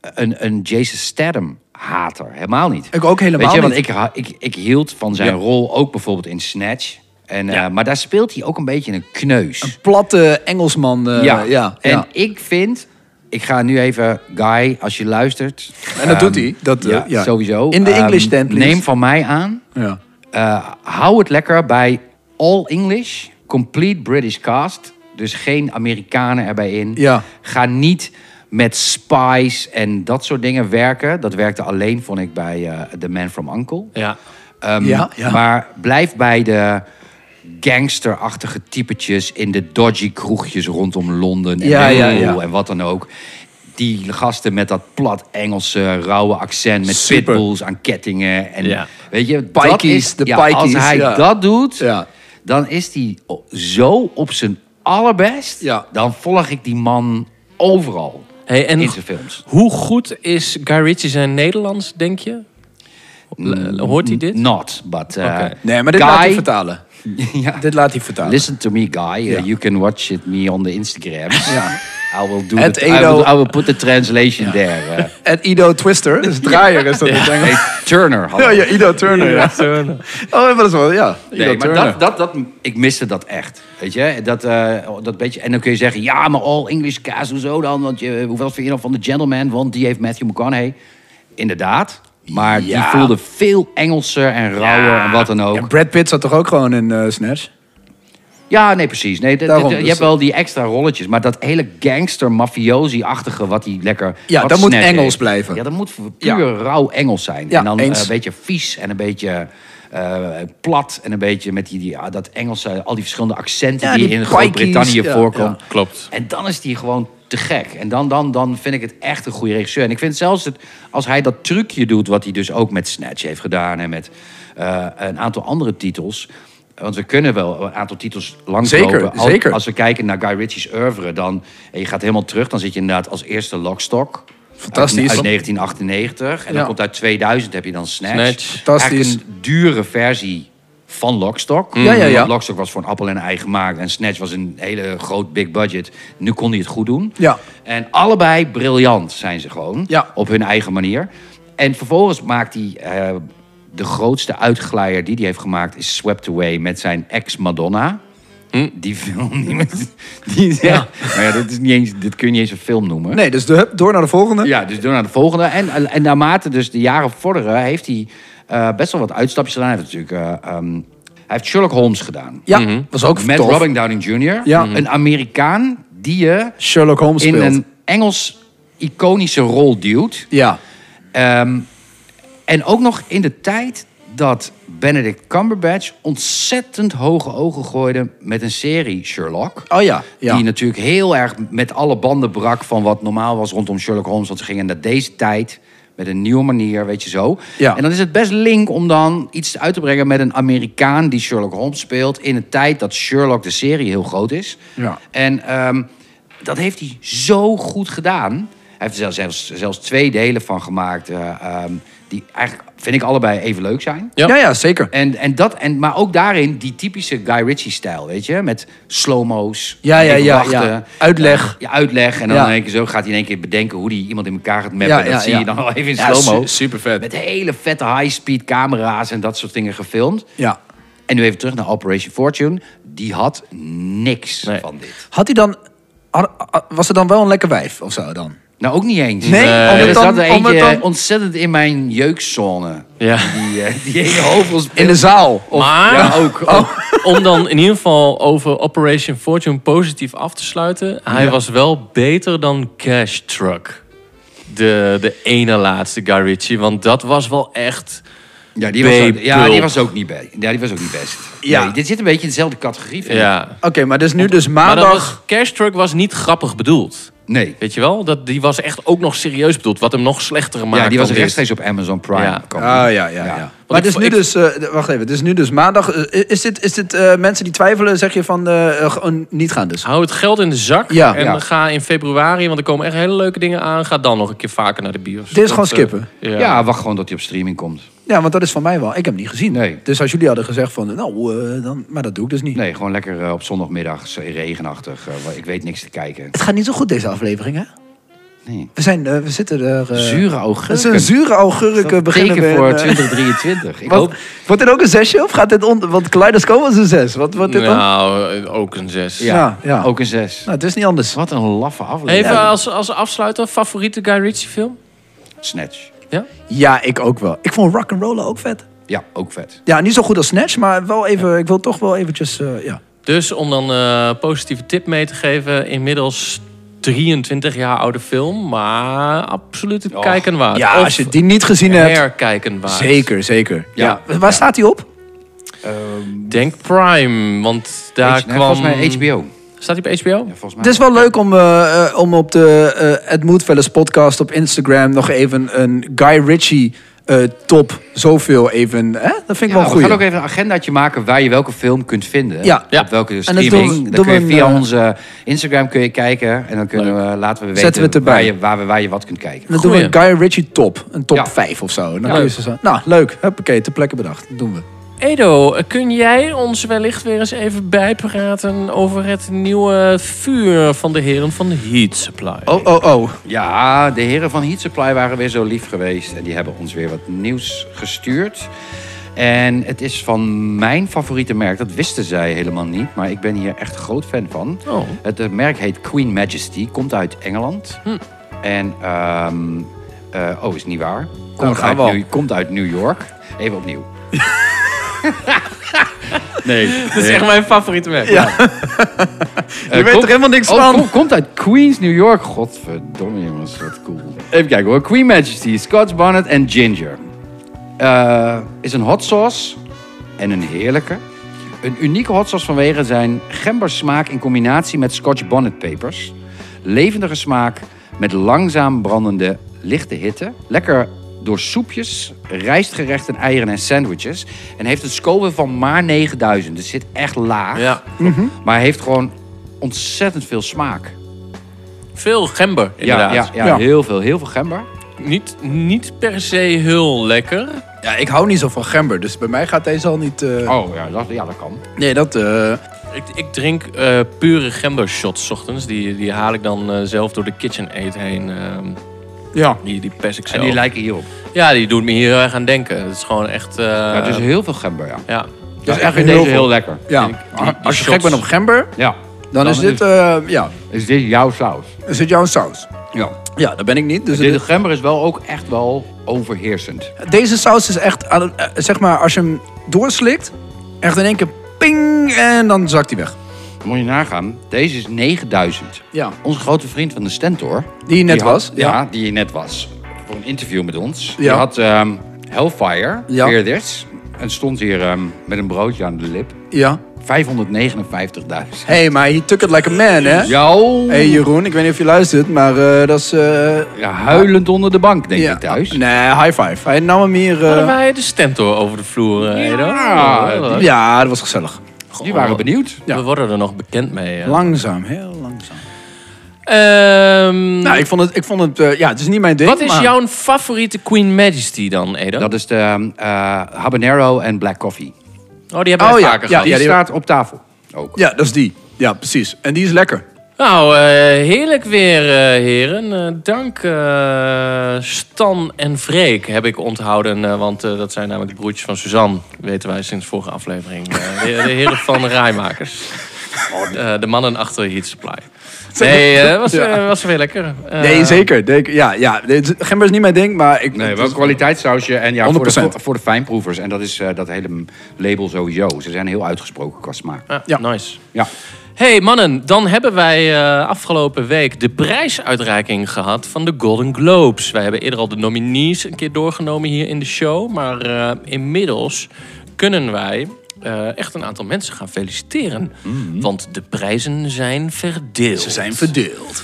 Speaker 5: een, een Jason Statham hater. Helemaal niet.
Speaker 4: Ik ook helemaal
Speaker 5: Weet je,
Speaker 4: niet.
Speaker 5: Want ik, ha- ik, ik hield van zijn rol ook bijvoorbeeld in Snatch. En, eh, maar daar speelt hij ook een beetje een kneus.
Speaker 4: Platte Engelsman. eh, ja. ja.
Speaker 5: En ik vind, ik ga nu even, Guy, als je luistert.
Speaker 4: En dat
Speaker 5: ehm,
Speaker 4: doet hij. Dat, eh,
Speaker 5: ja,
Speaker 4: ja.
Speaker 5: sowieso.
Speaker 4: In de
Speaker 5: Ehm,
Speaker 4: English stand, please.
Speaker 5: Neem van mij aan.
Speaker 4: Ja.
Speaker 5: Eh, hou het lekker bij all English, complete British cast. Dus geen Amerikanen erbij in.
Speaker 4: Ja.
Speaker 5: Ga niet met spies en dat soort dingen werken. Dat werkte alleen, vond ik, bij eh, The Man From Uncle.
Speaker 3: Ja.
Speaker 5: Ehm,
Speaker 4: Ja, ja.
Speaker 5: Maar blijf bij de gangsterachtige typetjes in de dodgy kroegjes rondom Londen en
Speaker 4: Ja, ja,
Speaker 5: Liverpool
Speaker 4: ja.
Speaker 5: en wat dan ook. Die gasten met dat plat Engelse, rauwe accent met
Speaker 4: Super.
Speaker 5: pitbulls aan kettingen. En
Speaker 3: Ja.
Speaker 5: weet je, dat
Speaker 4: Pikeys,
Speaker 5: is,
Speaker 4: de
Speaker 5: ja,
Speaker 4: pikeys,
Speaker 5: als hij
Speaker 4: ja.
Speaker 5: dat doet,
Speaker 4: Ja.
Speaker 5: dan is die o- zo op zijn allerbest.
Speaker 4: Ja.
Speaker 5: Dan volg ik die man overal
Speaker 3: Hey, en
Speaker 5: in zijn films.
Speaker 3: hoe goed is Guy Ritchie zijn Nederlands, denk je? L- Hoort hij dit?
Speaker 5: Not, but... eh,
Speaker 3: Oké.
Speaker 4: Nee, maar dit
Speaker 5: guy-
Speaker 4: laat hij vertalen.
Speaker 5: ja.
Speaker 4: Dit laat hij vertalen.
Speaker 5: Listen to me, guy. Uh, you can watch it me on the Instagram.
Speaker 4: Ja.
Speaker 5: I will do
Speaker 4: Het
Speaker 5: it. I
Speaker 4: Edo-
Speaker 5: will, I will put the translation there. Uh,
Speaker 4: En Ido Twister, dus draaier is dat in het Engels.
Speaker 5: hey, Turner. hallo.
Speaker 4: Ja, ja, Ido Turner. Ja. Oh, maar dat is wel, ja. Ido
Speaker 5: Nee, maar
Speaker 4: Turner.
Speaker 5: dat, dat, dat, ik miste dat echt. Weet je, dat, eh, dat beetje. En dan kun je zeggen, ja, maar all English cast, hoezo dan? Want je, hoeveel vind je dan van The Gentleman? Want die heeft Matthew McConaughey. Inderdaad. Maar die
Speaker 4: Ja.
Speaker 5: voelde veel Engelser en rauwer en wat dan ook.
Speaker 4: En Brad Pitt zat toch ook gewoon in eh, Snatch?
Speaker 5: Ja, nee, precies. Nee, d- d-
Speaker 4: Daarom,
Speaker 5: d- je
Speaker 4: dus
Speaker 5: hebt
Speaker 4: dat-
Speaker 5: wel die extra rolletjes. Maar dat hele gangster mafiosi achtige wat die lekker...
Speaker 4: Ja,
Speaker 5: wat
Speaker 4: dat moet
Speaker 5: Snatch
Speaker 4: Engels
Speaker 5: heeft.
Speaker 4: blijven.
Speaker 5: Ja, dat moet puur
Speaker 4: Ja.
Speaker 5: rauw Engels zijn.
Speaker 4: Ja,
Speaker 5: en dan eh,
Speaker 4: eens.
Speaker 5: een beetje vies en een beetje eh, plat. En een beetje met die, die, ah, dat Engelse, al die verschillende accenten
Speaker 4: Ja,
Speaker 5: die,
Speaker 4: die
Speaker 5: in
Speaker 4: pikes,
Speaker 5: Groot-Brittannië
Speaker 4: ja,
Speaker 5: voorkomen.
Speaker 4: ja.
Speaker 3: Klopt.
Speaker 5: En dan is die gewoon te gek. En dan, dan, dan vind ik het echt een goede regisseur. En ik vind zelfs het, als hij dat trucje doet, wat hij dus ook met Snatch heeft gedaan en met eh, een aantal andere titels. Want we kunnen wel een aantal titels langslopen.
Speaker 4: Zeker,
Speaker 5: Al-
Speaker 4: zeker.
Speaker 5: Als we kijken naar Guy Ritchie's oeuvre, dan en je gaat helemaal terug, dan zit je inderdaad als eerste Lockstock.
Speaker 4: Fantastisch.
Speaker 5: Uit, uit 1998. En
Speaker 4: Ja.
Speaker 5: dan komt uit 2000 heb je dan Snatch.
Speaker 3: Snatch.
Speaker 4: Fantastisch.
Speaker 5: Eigenlijk een dure versie van Lockstock.
Speaker 4: Ja, ja, ja.
Speaker 5: Want Lockstock was voor een appel en een ei gemaakt. En Snatch was een hele groot big budget. Nu kon hij het goed doen.
Speaker 4: Ja.
Speaker 5: En allebei briljant zijn ze gewoon.
Speaker 4: Ja.
Speaker 5: Op hun eigen manier. En vervolgens maakt hij... eh, de grootste uitglijer die hij heeft gemaakt is Swept Away met zijn ex-Madonna. Die film. Die, die, ja. Maar ja, dat, is niet eens, dit kun je niet eens een film noemen.
Speaker 4: Nee, dus de, hup, door naar de volgende.
Speaker 5: Ja, dus door naar de volgende. En, en naarmate dus de jaren vorderen, heeft hij eh, best wel wat uitstapjes gedaan. Hij heeft natuurlijk... eh, ehm, hij heeft Sherlock Holmes gedaan.
Speaker 4: Ja, was ook
Speaker 5: Mhm. Met
Speaker 4: tof.
Speaker 5: Robin Downing Jr.
Speaker 4: Ja.
Speaker 5: Een Amerikaan die je
Speaker 4: Sherlock Holmes
Speaker 5: in
Speaker 4: speelt.
Speaker 5: een Engels iconische rol duwt.
Speaker 4: Ja.
Speaker 5: Ehm, en ook nog in de tijd dat Benedict Cumberbatch ontzettend hoge ogen gooide met een serie Sherlock.
Speaker 4: Oh ja, ja.
Speaker 5: Die natuurlijk heel erg met alle banden brak van wat normaal was rondom Sherlock Holmes. Want ze gingen naar deze tijd met een nieuwe manier, weet je zo.
Speaker 4: Ja.
Speaker 5: En dan is het best link om dan iets uit te brengen met een Amerikaan die Sherlock Holmes speelt. In een tijd dat Sherlock de serie heel groot is.
Speaker 4: Ja.
Speaker 5: En ehm, dat heeft hij zo goed gedaan. Hij heeft er zelfs, zelfs twee delen van gemaakt. eh, ehm, die eigenlijk, vind ik, allebei even leuk zijn.
Speaker 4: Ja.
Speaker 3: Ja.
Speaker 4: ja, zeker.
Speaker 5: En, en dat, en, maar ook daarin die typische Guy Ritchie-stijl, weet je? Met slow-mo's.
Speaker 4: Ja, ja,
Speaker 5: even
Speaker 4: ja,
Speaker 5: wachten.
Speaker 4: ja. Uitleg.
Speaker 5: Ja, uitleg. En dan
Speaker 4: Ja.
Speaker 5: in één keer zo gaat hij in één keer bedenken hoe hij iemand in elkaar gaat mappen.
Speaker 4: Ja,
Speaker 5: dat
Speaker 4: ja,
Speaker 5: zie
Speaker 4: ja.
Speaker 5: je dan al even in
Speaker 4: Ja,
Speaker 5: slow-mo.
Speaker 4: su- supervet.
Speaker 5: Met hele vette high-speed camera's en dat soort dingen gefilmd.
Speaker 4: Ja.
Speaker 5: En nu even terug naar Operation Fortune. Die had niks
Speaker 3: Nee.
Speaker 5: van dit.
Speaker 4: Had hij dan... had- had- was er dan wel een lekker wijf of zo dan?
Speaker 5: Nou, ook niet eens.
Speaker 4: Nee, Nee. om het
Speaker 5: Er
Speaker 4: dan-
Speaker 5: zat er
Speaker 4: om het
Speaker 5: eentje
Speaker 4: dan-
Speaker 5: ontzettend in mijn jeukzone.
Speaker 3: Ja.
Speaker 5: Die, eh, die hele hoofdrol
Speaker 4: In de zaal. Of,
Speaker 3: maar
Speaker 5: Ja, ook. Oh.
Speaker 3: om dan in ieder geval over Operation Fortune positief af te sluiten. Hij was wel beter dan Cash Truck. De, de ene laatste Guy Ritchie. Want dat was wel echt...
Speaker 5: Ja, die was, ook, ja, die
Speaker 3: Babe-pulp.
Speaker 5: was ook niet best. Ja, die was ook niet best.
Speaker 4: Ja.
Speaker 5: Nee, dit zit een beetje in dezelfde categorie. vind ik.
Speaker 3: Ja.
Speaker 4: Oké, maar dus nu dus
Speaker 3: Maar dat
Speaker 4: maandag...
Speaker 3: was, Cash Truck was niet grappig bedoeld.
Speaker 5: Nee.
Speaker 3: Weet je wel? Dat, die was echt ook nog serieus bedoeld. Wat hem nog slechter maakte.
Speaker 5: ja, die was
Speaker 3: dan dit.
Speaker 5: rechtstreeks op Amazon Prime.
Speaker 3: Ja.
Speaker 5: Kan
Speaker 4: Ah, ja,
Speaker 5: die.
Speaker 4: ja, ja. Maar
Speaker 3: ik
Speaker 4: het is
Speaker 3: vo-
Speaker 4: nu
Speaker 3: ik-
Speaker 4: dus... eh, d- wacht even, het is nu dus maandag. Eh, is dit, is dit eh, mensen die twijfelen, zeg je van... eh, eh, gewoon niet gaan dus?
Speaker 3: Hou het geld in de zak
Speaker 4: Ja.
Speaker 3: en
Speaker 5: Ja.
Speaker 3: ga in februari, want er komen echt hele leuke dingen aan. Ga dan nog een keer vaker naar de bios.
Speaker 4: Dit is
Speaker 3: Dat,
Speaker 4: gewoon
Speaker 3: eh,
Speaker 4: skippen.
Speaker 5: Ja.
Speaker 3: ja.
Speaker 5: wacht gewoon dat hij op streaming komt.
Speaker 4: Ja, want dat is van mij wel. Ik heb hem niet gezien.
Speaker 5: Nee.
Speaker 4: Dus als jullie hadden gezegd van... Nou, eh, dan, maar dat doe ik dus niet.
Speaker 5: Nee, gewoon lekker eh, op zondagmiddag, zo regenachtig. eh, wa- ik weet niks te kijken.
Speaker 4: Het gaat niet zo goed deze aflevering, hè?
Speaker 5: Nee.
Speaker 4: We, zijn, eh, we zitten er... eh,
Speaker 5: Zure
Speaker 4: Het is
Speaker 5: augurken.
Speaker 4: een zure augurken beginnen
Speaker 5: Teken
Speaker 4: we
Speaker 5: voor
Speaker 4: in, eh,
Speaker 5: 2023. Ik
Speaker 4: Wat-
Speaker 5: hoop...
Speaker 4: Wordt dit ook een zesje of gaat dit onder? Want Kaleidoscope was een zes. Wat wordt dit dan?
Speaker 3: Nou, eh, ook een zes.
Speaker 5: Ja,
Speaker 4: Ja, ja.
Speaker 5: ook een 6.
Speaker 4: Nou, het is niet anders.
Speaker 5: Wat een laffe aflevering.
Speaker 3: Even als, als afsluiter, favoriete Guy Ritchie film?
Speaker 5: Snatch.
Speaker 3: Ja?
Speaker 4: Ja, ik ook wel. Ik vond Rock'n'Roller ook vet.
Speaker 5: Ja, ook vet.
Speaker 4: Ja, niet zo goed als Snatch, maar wel even. Ik wil toch wel eventjes. eh, ja.
Speaker 3: Dus om dan eh positieve tip mee te geven, inmiddels 23 jaar oude film, maar absoluut het
Speaker 5: Och.
Speaker 3: kijken waard.
Speaker 4: ja,
Speaker 3: Of
Speaker 4: als je die niet gezien hebt.
Speaker 3: herkijken waard.
Speaker 4: Zeker, zeker. Ja.
Speaker 5: Ja.
Speaker 4: Waar staat hij op?
Speaker 3: Denk Prime, want daar
Speaker 5: H- nee,
Speaker 3: kwam...
Speaker 5: nou, Volgens mij HBO.
Speaker 3: Staat hij op HBO?
Speaker 5: Ja, volgens mij.
Speaker 4: Het is wel leuk om, eh, eh, om op de eh Ed Moedfellas podcast op Instagram nog even een Guy Ritchie eh, top zoveel even. Hè? Dat vind ik wel een
Speaker 5: we gaan
Speaker 4: goeie.
Speaker 5: ook even een agendaatje maken waar je welke film kunt vinden.
Speaker 4: Ja.
Speaker 3: Ja.
Speaker 5: Op welke
Speaker 4: doen we-
Speaker 5: streaming.
Speaker 4: doen
Speaker 5: dan kun je
Speaker 4: we
Speaker 5: via
Speaker 4: een, eh,
Speaker 5: onze Instagram kun je kijken. En dan kunnen we, laten we weten
Speaker 4: Zetten we het erbij.
Speaker 5: waar, je, waar, we, waar je wat kunt kijken.
Speaker 4: Dan doen we een
Speaker 3: Goeie.
Speaker 4: Guy Ritchie top. Een top
Speaker 5: Ja.
Speaker 4: 5 of zo. Dan kun je
Speaker 3: leuk.
Speaker 4: ze zo- Nou, leuk. Huppakee, ter plekke bedacht. Dat doen we.
Speaker 3: Edo, eh, kun jij ons wellicht weer eens even bijpraten over het nieuwe vuur van de heren van Heat Supply?
Speaker 4: Oh, oh, oh.
Speaker 5: Ja, de heren van Heat Supply waren weer zo lief geweest. En die hebben ons weer wat nieuws gestuurd. En het is van mijn favoriete merk. Dat wisten zij helemaal niet. Maar ik ben hier echt groot fan van.
Speaker 3: Oh.
Speaker 5: Het eh, merk heet Queen Majesty. Komt uit Engeland.
Speaker 3: Hm.
Speaker 5: En, ehm, eh, oh, is niet waar.
Speaker 3: Nou,
Speaker 5: Komt,
Speaker 4: gaan
Speaker 5: uit
Speaker 4: we al.
Speaker 5: New, komt uit New York. Even opnieuw. nee.
Speaker 3: Dat is echt mijn favoriete merk.
Speaker 5: Je
Speaker 4: weet er helemaal niks van.
Speaker 5: oh, komt uit Queens, New York. Godverdomme jongens, wat cool. Even kijken hoor. Queen Majesty, Scotch Bonnet en Ginger. Eh, is een hot sauce en een heerlijke. Een unieke hot sauce vanwege zijn gembersmaak in combinatie met Scotch Bonnet pepers. Levendige smaak met langzaam brandende lichte hitte. Lekker door soepjes, rijstgerechten, eieren en sandwiches. En heeft een score van maar 9000. Dus zit echt laag.
Speaker 3: Ja.
Speaker 5: Maar hij heeft gewoon ontzettend veel smaak.
Speaker 3: Veel gember,
Speaker 5: Ja,
Speaker 3: inderdaad.
Speaker 5: ja, ja,
Speaker 4: Ja.
Speaker 5: heel veel, heel veel gember.
Speaker 3: Niet, niet per se heel lekker.
Speaker 4: Ja, ik hou niet zo van gember. Dus bij mij gaat deze al niet... eh,
Speaker 5: Oh ja, dat, ja, dat kan.
Speaker 4: Nee, dat... eh,
Speaker 3: Ik, ik drink eh, pure gember shots 's ochtends. Die, die haal ik dan eh, zelf door de kitchen aid heen. ehm,
Speaker 4: ja.
Speaker 3: die, die pers ik
Speaker 5: En
Speaker 3: zelf.
Speaker 5: die lijken hierop.
Speaker 3: Ja, die doet me hier heel erg aan denken. Het is gewoon echt... eh,
Speaker 5: Ja, dus heel veel gember, ja.
Speaker 3: ja.
Speaker 5: Dus
Speaker 4: echt
Speaker 5: echt
Speaker 4: heel
Speaker 5: deze
Speaker 4: veel.
Speaker 5: heel lekker.
Speaker 4: ja. Ah,
Speaker 3: Die- die- die
Speaker 4: Als je gek
Speaker 3: shots.
Speaker 4: bent op gember,
Speaker 5: Ja.
Speaker 4: dan, is dit... eh, ja,
Speaker 5: Is dit jouw saus?
Speaker 4: is dit jouw saus.
Speaker 5: Ja.
Speaker 4: Ja, dat ben ik niet. Dus
Speaker 5: Dit, de
Speaker 4: dit-
Speaker 5: gember is wel ook echt wel overheersend.
Speaker 4: deze saus is echt... aan- eh, zeg maar, als je hem doorslikt... Echt in één keer ping en dan zakt hij weg.
Speaker 5: Moet je nagaan, deze is 9000.
Speaker 4: Ja.
Speaker 5: Onze grote vriend van de Stentor.
Speaker 4: Die je net
Speaker 5: had-
Speaker 4: was, ja.
Speaker 5: Ja. die hier net was. Voor een interview met ons. Die
Speaker 4: Ja.
Speaker 5: had ehm, Hellfire,
Speaker 4: Ja.
Speaker 5: weer dit. En stond hier ehm, met een broodje aan de lip.
Speaker 4: Ja.
Speaker 5: 559.000.
Speaker 4: Hé, hey, maar he took it like a man, hè?
Speaker 5: Jou!
Speaker 4: Hé hey Jeroen, ik weet niet of je luistert, maar eh, dat is... eh,
Speaker 5: Ja, huilend onder de bank, denk ik thuis.
Speaker 4: Nee, high five. Hij nam hem hier... eh,
Speaker 3: Hadden wij de stentor over de vloer, eh, Edo?
Speaker 5: Ja,
Speaker 3: Oh,
Speaker 5: die-
Speaker 4: ja, dat was gezellig.
Speaker 5: Die waren benieuwd.
Speaker 4: ja.
Speaker 3: We worden er nog bekend mee. ja.
Speaker 4: Langzaam, heel langzaam.
Speaker 3: Ehm,
Speaker 4: Nou, ik vond het... Ik vond het eh, ja, het is niet mijn ding,
Speaker 3: wat is
Speaker 4: maar-
Speaker 3: jouw favoriete Queen Majesty dan, Edo?
Speaker 5: Dat is de ehm, eh, habanero en black coffee.
Speaker 3: oh, die hebben we
Speaker 4: Oh, ja,
Speaker 3: vaker
Speaker 4: ja,
Speaker 3: gehad.
Speaker 5: die
Speaker 4: die-
Speaker 5: staat op tafel. Ook.
Speaker 4: Ja, dat is die. Ja, precies. En die is lekker.
Speaker 3: Nou, eh, heerlijk weer, eh, heren. Eh, dank eh, Stan en Freek heb ik onthouden. eh, want eh, dat zijn namelijk de broertjes van Suzanne. Weten wij sinds vorige aflevering. Eh, de, de heren van de Rijmakers.
Speaker 4: Oh,
Speaker 3: Eh, de mannen achter Heat Supply. Nee, eh, was, eh,
Speaker 4: Ja.
Speaker 3: was weer lekker. Eh,
Speaker 4: Nee, zeker. Denk- ja, ja. dit- Gember is niet mijn ding, maar ik...
Speaker 5: Nee,
Speaker 4: het
Speaker 5: wel
Speaker 4: is-
Speaker 5: kwaliteitssausje en ja, voor de,
Speaker 4: 100%.
Speaker 5: voor, voor de fijnproevers. En dat is eh, dat hele label sowieso. Ze zijn heel uitgesproken qua smaak.
Speaker 3: Ah,
Speaker 4: Ja.
Speaker 3: Nice.
Speaker 5: Ja.
Speaker 3: Hey mannen, dan hebben wij eh, afgelopen week de prijsuitreiking gehad van de Golden Globes. Wij hebben eerder al de nominees een keer doorgenomen hier in de show. Maar eh, inmiddels kunnen wij eh, echt een aantal mensen gaan feliciteren. Want de prijzen zijn verdeeld.
Speaker 4: Ze zijn verdeeld.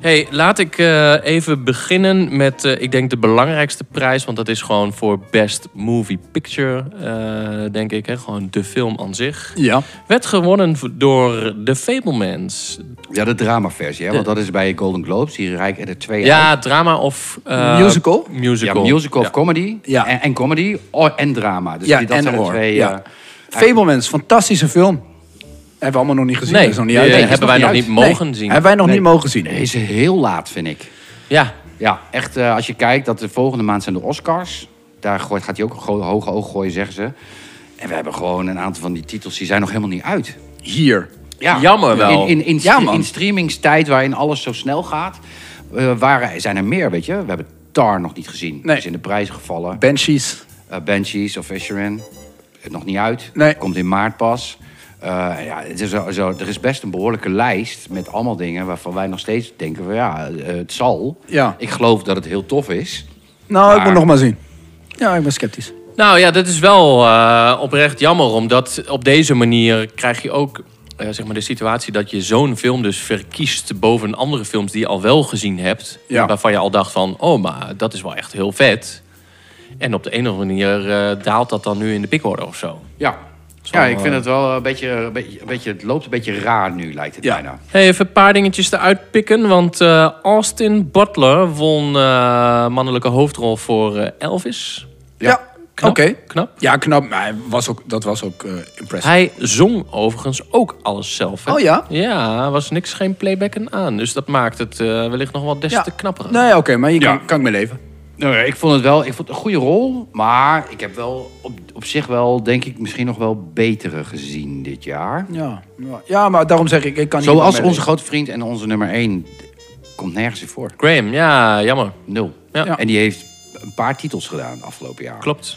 Speaker 3: Hey, laat ik eh, even beginnen met, eh, ik denk, de belangrijkste prijs. Want dat is gewoon voor Best Movie Picture, eh, denk ik. Hè? Gewoon de film aan zich.
Speaker 4: Ja.
Speaker 3: Werd gewonnen v- door The Fablemans.
Speaker 5: ja, de dramaversie. Hè? Want dat is bij Golden Globes. Hier reiken er twee uit.
Speaker 3: Ja, drama of... eh,
Speaker 4: Musical?
Speaker 6: dus
Speaker 5: Ja,
Speaker 3: Musical.
Speaker 5: musical of comedy.
Speaker 4: Ja.
Speaker 5: En, en comedy oh, en drama. Dus
Speaker 4: Ja,
Speaker 5: die, dat
Speaker 4: en
Speaker 5: zijn de
Speaker 4: horror.
Speaker 5: twee...
Speaker 4: ja.
Speaker 5: eh,
Speaker 4: Fablemans, fantastische film. Hebben we allemaal nog niet gezien.
Speaker 3: Nee,
Speaker 4: dat is nog niet
Speaker 3: die,
Speaker 4: uit.
Speaker 3: eh,
Speaker 4: Nee,
Speaker 3: hebben
Speaker 4: is
Speaker 3: wij nog
Speaker 5: niet
Speaker 3: niet
Speaker 5: uit.
Speaker 3: mogen
Speaker 4: Nee,
Speaker 3: zien.
Speaker 4: Hebben wij nog
Speaker 5: Nee.
Speaker 4: niet mogen zien.
Speaker 5: Deze heel laat, vind ik.
Speaker 3: Ja,
Speaker 5: Ja, echt eh, als je kijkt dat de volgende maand zijn de Oscars. Daar gooit, gaat hij ook een gro- hoge oog gooien, zeggen ze. En we hebben gewoon een aantal van die titels, die zijn nog helemaal niet uit.
Speaker 4: Hier.
Speaker 5: Ja,
Speaker 3: Jammer wel.
Speaker 5: In, in, in,
Speaker 4: Ja, man.
Speaker 5: in streamingstijd waarin alles zo snel gaat, eh, waren, zijn er meer, weet je. We hebben Tar nog niet gezien.
Speaker 4: Nee.
Speaker 5: Is in de prijzen gevallen.
Speaker 4: Banshees.
Speaker 5: Eh, Banshees of Fisherman. Nog niet uit.
Speaker 4: Nee.
Speaker 5: Komt in maart pas. Eh, ja, het is zo, zo- er is best een behoorlijke lijst met allemaal dingen waarvan wij nog steeds denken van ja, eh, het zal.
Speaker 4: Ja.
Speaker 5: Ik geloof dat het heel tof is.
Speaker 4: Nou, ik
Speaker 5: Maar-
Speaker 4: moet nog maar zien. Ja, ik ben sceptisch.
Speaker 3: Nou ja, dat is wel eh, oprecht jammer, omdat op deze manier krijg je ook eh, zeg maar de situatie dat je zo'n film dus verkiest boven andere films die je al wel gezien hebt,
Speaker 4: Ja.
Speaker 3: waarvan je al dacht van, oh maar dat is wel echt heel vet.
Speaker 6: En op de een of andere manier eh, daalt dat dan nu in de pikorde of zo.
Speaker 5: Ja. Ja, ik vind het wel eh, een beetje, een beetje, een beetje- het loopt een beetje raar nu, lijkt het
Speaker 4: Ja.
Speaker 5: bijna.
Speaker 6: Hey, even een paar dingetjes eruit pikken. Want eh, Austin Butler won eh, mannelijke hoofdrol voor eh, Elvis.
Speaker 4: Ja, oké.
Speaker 6: Knap, knap.
Speaker 4: Ja, knap. Maar hij was ook, dat was ook eh impressive.
Speaker 6: Hij zong overigens ook alles zelf. Hè?
Speaker 4: Oh ja?
Speaker 6: Ja, was niks geen playbacken aan. Dus dat maakt het eh, wellicht nog wel des te knapper.
Speaker 4: Nee, Nou oké, maar je
Speaker 5: Ja.
Speaker 4: kan, kan ik mee leven.
Speaker 5: Nou ja, ik vond het wel ik vond het een goede rol. Maar ik heb wel op, op zich wel, denk ik, misschien nog wel betere gezien dit jaar.
Speaker 4: Ja, ja. ja maar daarom zeg ik, ik kan niet
Speaker 5: Zoals
Speaker 4: mee
Speaker 5: onze
Speaker 4: leven.
Speaker 5: grote vriend en onze nummer 1 komt nergens in voor.
Speaker 6: Graham, ja, jammer.
Speaker 5: Nul.
Speaker 6: Ja.
Speaker 5: En die heeft een paar titels gedaan afgelopen jaar.
Speaker 6: Klopt.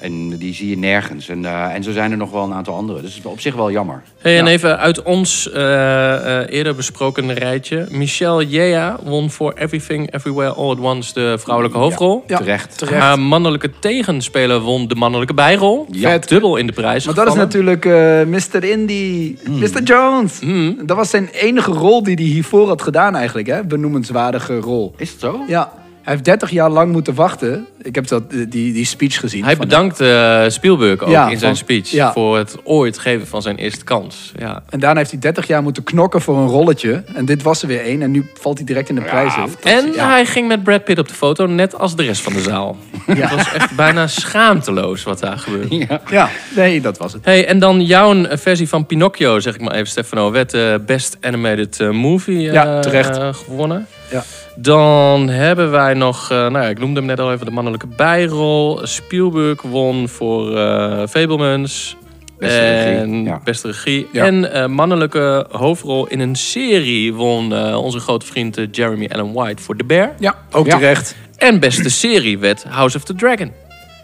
Speaker 5: En die zie je nergens. En, eh, en zo zijn er nog wel een aantal andere. Dus het is op zich wel jammer.
Speaker 6: Hey, en even uit ons eh, eh, eerder besproken rijtje. Michelle Yea won voor Everything, Everywhere, All at Once de vrouwelijke hoofdrol.
Speaker 4: Ja.
Speaker 5: Terecht.
Speaker 6: Haar mannelijke tegenspeler won de mannelijke bijrol.
Speaker 4: Ja. Vet.
Speaker 6: Dubbel in de prijs.
Speaker 4: Maar dat is
Speaker 6: gevallen.
Speaker 4: natuurlijk eh Mr. Indy, Mr. Jones. Dat was zijn enige rol die hij hiervoor had gedaan eigenlijk, hè? Benoemenswaardige rol.
Speaker 5: Is het zo?
Speaker 4: Ja, hij heeft 30 jaar lang moeten wachten. Ik heb dat, eh, die, die speech gezien.
Speaker 6: Hij
Speaker 4: van-
Speaker 6: bedankt eh, Spielberg ook
Speaker 4: Ja,
Speaker 6: in
Speaker 4: van-
Speaker 6: zijn speech
Speaker 4: ja.
Speaker 6: voor het ooit geven van zijn eerste kans. Ja.
Speaker 4: En daarna heeft hij 30 jaar moeten knokken voor een rolletje. En dit was er weer één. En nu valt hij direct in de prijzen.
Speaker 6: En hij ging met Brad Pitt op de foto, net als de rest van de zaal. Het was echt bijna schaamteloos wat daar gebeurde.
Speaker 4: Ja, nee, dat was het.
Speaker 6: Hey, en dan jouw eh, versie van Pinocchio, zeg ik maar even, Stefano. Werd eh, Best Animated eh, Movie eh,
Speaker 4: Ja, terecht.
Speaker 6: eh, gewonnen.
Speaker 4: Ja.
Speaker 6: Dan hebben wij nog, eh, nou ja, ik noemde hem net al even, de mannelijke bijrol. Spielberg won voor eh Fablemans.
Speaker 5: Beste
Speaker 6: en
Speaker 5: regie, ja.
Speaker 6: Beste regie.
Speaker 4: Ja.
Speaker 6: En eh, mannelijke hoofdrol in een serie won eh, onze grote vriend eh, Jeremy Allen White voor The Bear.
Speaker 4: Ja, ook
Speaker 5: Ja.
Speaker 4: terecht.
Speaker 6: En beste serie werd House of the Dragon.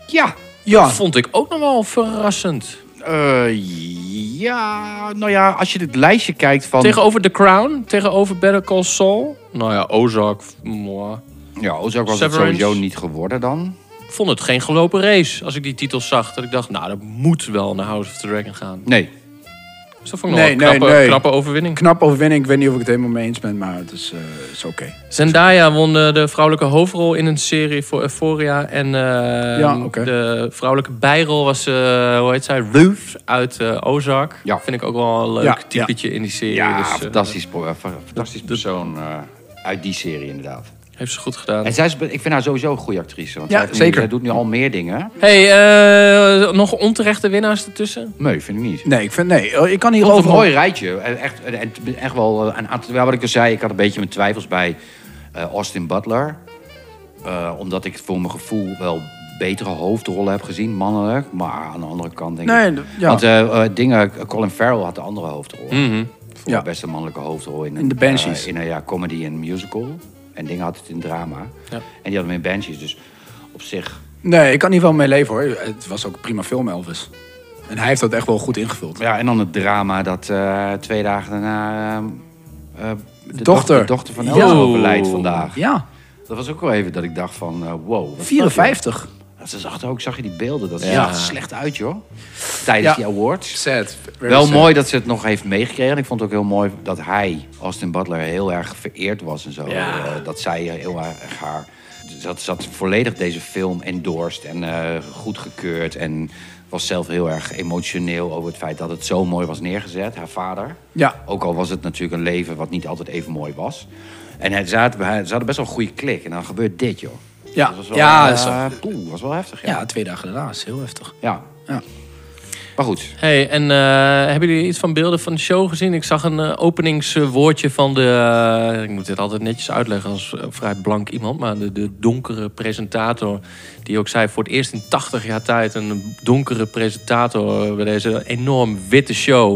Speaker 5: Ja.
Speaker 4: Ja,
Speaker 6: Vond ik ook nog wel verrassend.
Speaker 5: Eh, ja, nou ja, als je dit lijstje kijkt van...
Speaker 6: Tegenover The Crown, tegenover Better Call Saul. Nou ja, Ozark. mwah.
Speaker 5: Ja, Ozark was
Speaker 6: Severance.
Speaker 5: het sowieso niet geworden dan.
Speaker 6: Vond het geen gelopen race als ik die titels zag. Dat ik dacht, nou, dat moet wel naar House of the Dragon gaan.
Speaker 5: Nee.
Speaker 6: Dus dat vond ik nog
Speaker 4: Nee,
Speaker 6: wel een
Speaker 4: nee,
Speaker 6: knappe,
Speaker 4: nee.
Speaker 6: knappe overwinning.
Speaker 4: knap overwinning. Ik weet niet of ik het helemaal mee eens ben, maar het is, eh, is oké.
Speaker 6: Zendaya won eh, de vrouwelijke hoofdrol in een serie voor Euphoria. En eh,
Speaker 4: Ja, oké.
Speaker 6: de vrouwelijke bijrol was, eh, hoe heet zij? Ruth uit eh, Ozark.
Speaker 5: Ja.
Speaker 6: Vind ik ook wel een leuk
Speaker 4: Ja,
Speaker 6: typetje in die serie.
Speaker 5: Ja,
Speaker 6: dus, eh,
Speaker 5: fantastisch, po- eh, fa- fantastisch persoon eh, uit die serie inderdaad.
Speaker 6: heeft ze goed gedaan.
Speaker 5: En zij is, ik vind haar sowieso een goede actrice. Want
Speaker 4: Ja,
Speaker 5: zij, heeft nu-
Speaker 4: zeker.
Speaker 5: zij doet nu al meer dingen.
Speaker 6: Hey, eh, nog onterechte winnaars ertussen?
Speaker 5: Nee, vind ik niet.
Speaker 4: Nee, ik vind, nee, eh, ik kan hier
Speaker 5: Vond het een
Speaker 4: overal...
Speaker 5: mooi rijtje. En Echt, en echt wel eh, een aantal... ja, Wat ik dus zei, ik had een beetje mijn twijfels bij eh, Austin Butler. Eh, omdat ik voor mijn gevoel wel betere hoofdrollen heb gezien, mannelijk. Maar aan de andere kant denk
Speaker 4: Nee,
Speaker 5: ik...
Speaker 4: d- ja.
Speaker 5: Want eh, eh, dingen, Colin Farrell had de andere hoofdrol. Voor
Speaker 4: Ja.
Speaker 5: best een mannelijke hoofdrol in,
Speaker 4: In de
Speaker 5: eh,
Speaker 4: Banshees.
Speaker 5: in een ja, comedy en musical. En dingen had het in drama. En die hadden hem in Banshees. Dus op zich...
Speaker 4: Nee, ik kan hier wel mee leven hoor. Het was ook een prima film, Elvis. En hij heeft dat echt wel goed ingevuld.
Speaker 5: Ja, en dan het drama dat eh, twee dagen daarna... ehm, eh, de
Speaker 4: Dochter.
Speaker 5: de dochter van Elvis
Speaker 4: Ja.
Speaker 5: overlijdt vandaag.
Speaker 4: Ja,
Speaker 5: Dat was ook wel even dat ik dacht van, eh, wow. wat
Speaker 4: 54.
Speaker 5: was dat? Ze zag er ook, zag je die beelden? Dat
Speaker 6: Ja.
Speaker 5: zag er slecht uit, joh. Tijdens
Speaker 4: Ja.
Speaker 5: die awards.
Speaker 4: Sad. Very
Speaker 5: wel
Speaker 4: sad.
Speaker 5: mooi dat ze het nog heeft meegekregen. En ik vond het ook heel mooi dat hij, Austin Butler, heel erg vereerd was en zo. Eh, dat zij eh, heel erg haar... Zat, zat volledig deze film endorsed en eh, goedgekeurd. En was zelf heel erg emotioneel over het feit dat het zo mooi was neergezet. Haar vader.
Speaker 4: Ja.
Speaker 5: Ook al was het natuurlijk een leven wat niet altijd even mooi was. En het zaten, bij- ze hadden best wel een goede klik. En dan gebeurt dit, joh.
Speaker 4: Ja,
Speaker 5: Dat was wel,
Speaker 4: ja,
Speaker 5: eh,
Speaker 4: dat is-
Speaker 5: poeh, was wel heftig, ja.
Speaker 4: ja, twee dagen daarna is heel heftig.
Speaker 5: Ja.
Speaker 4: Ja.
Speaker 5: Maar goed.
Speaker 6: Hey, en eh, hebben jullie iets van beelden van de show gezien? Ik zag een eh, openingswoordje van de. eh, ik moet dit altijd netjes uitleggen als eh, vrij blank iemand, maar de, de donkere presentator. Die ook zei voor het eerst in 80 jaar tijd een donkere presentator eh, bij deze enorm witte show.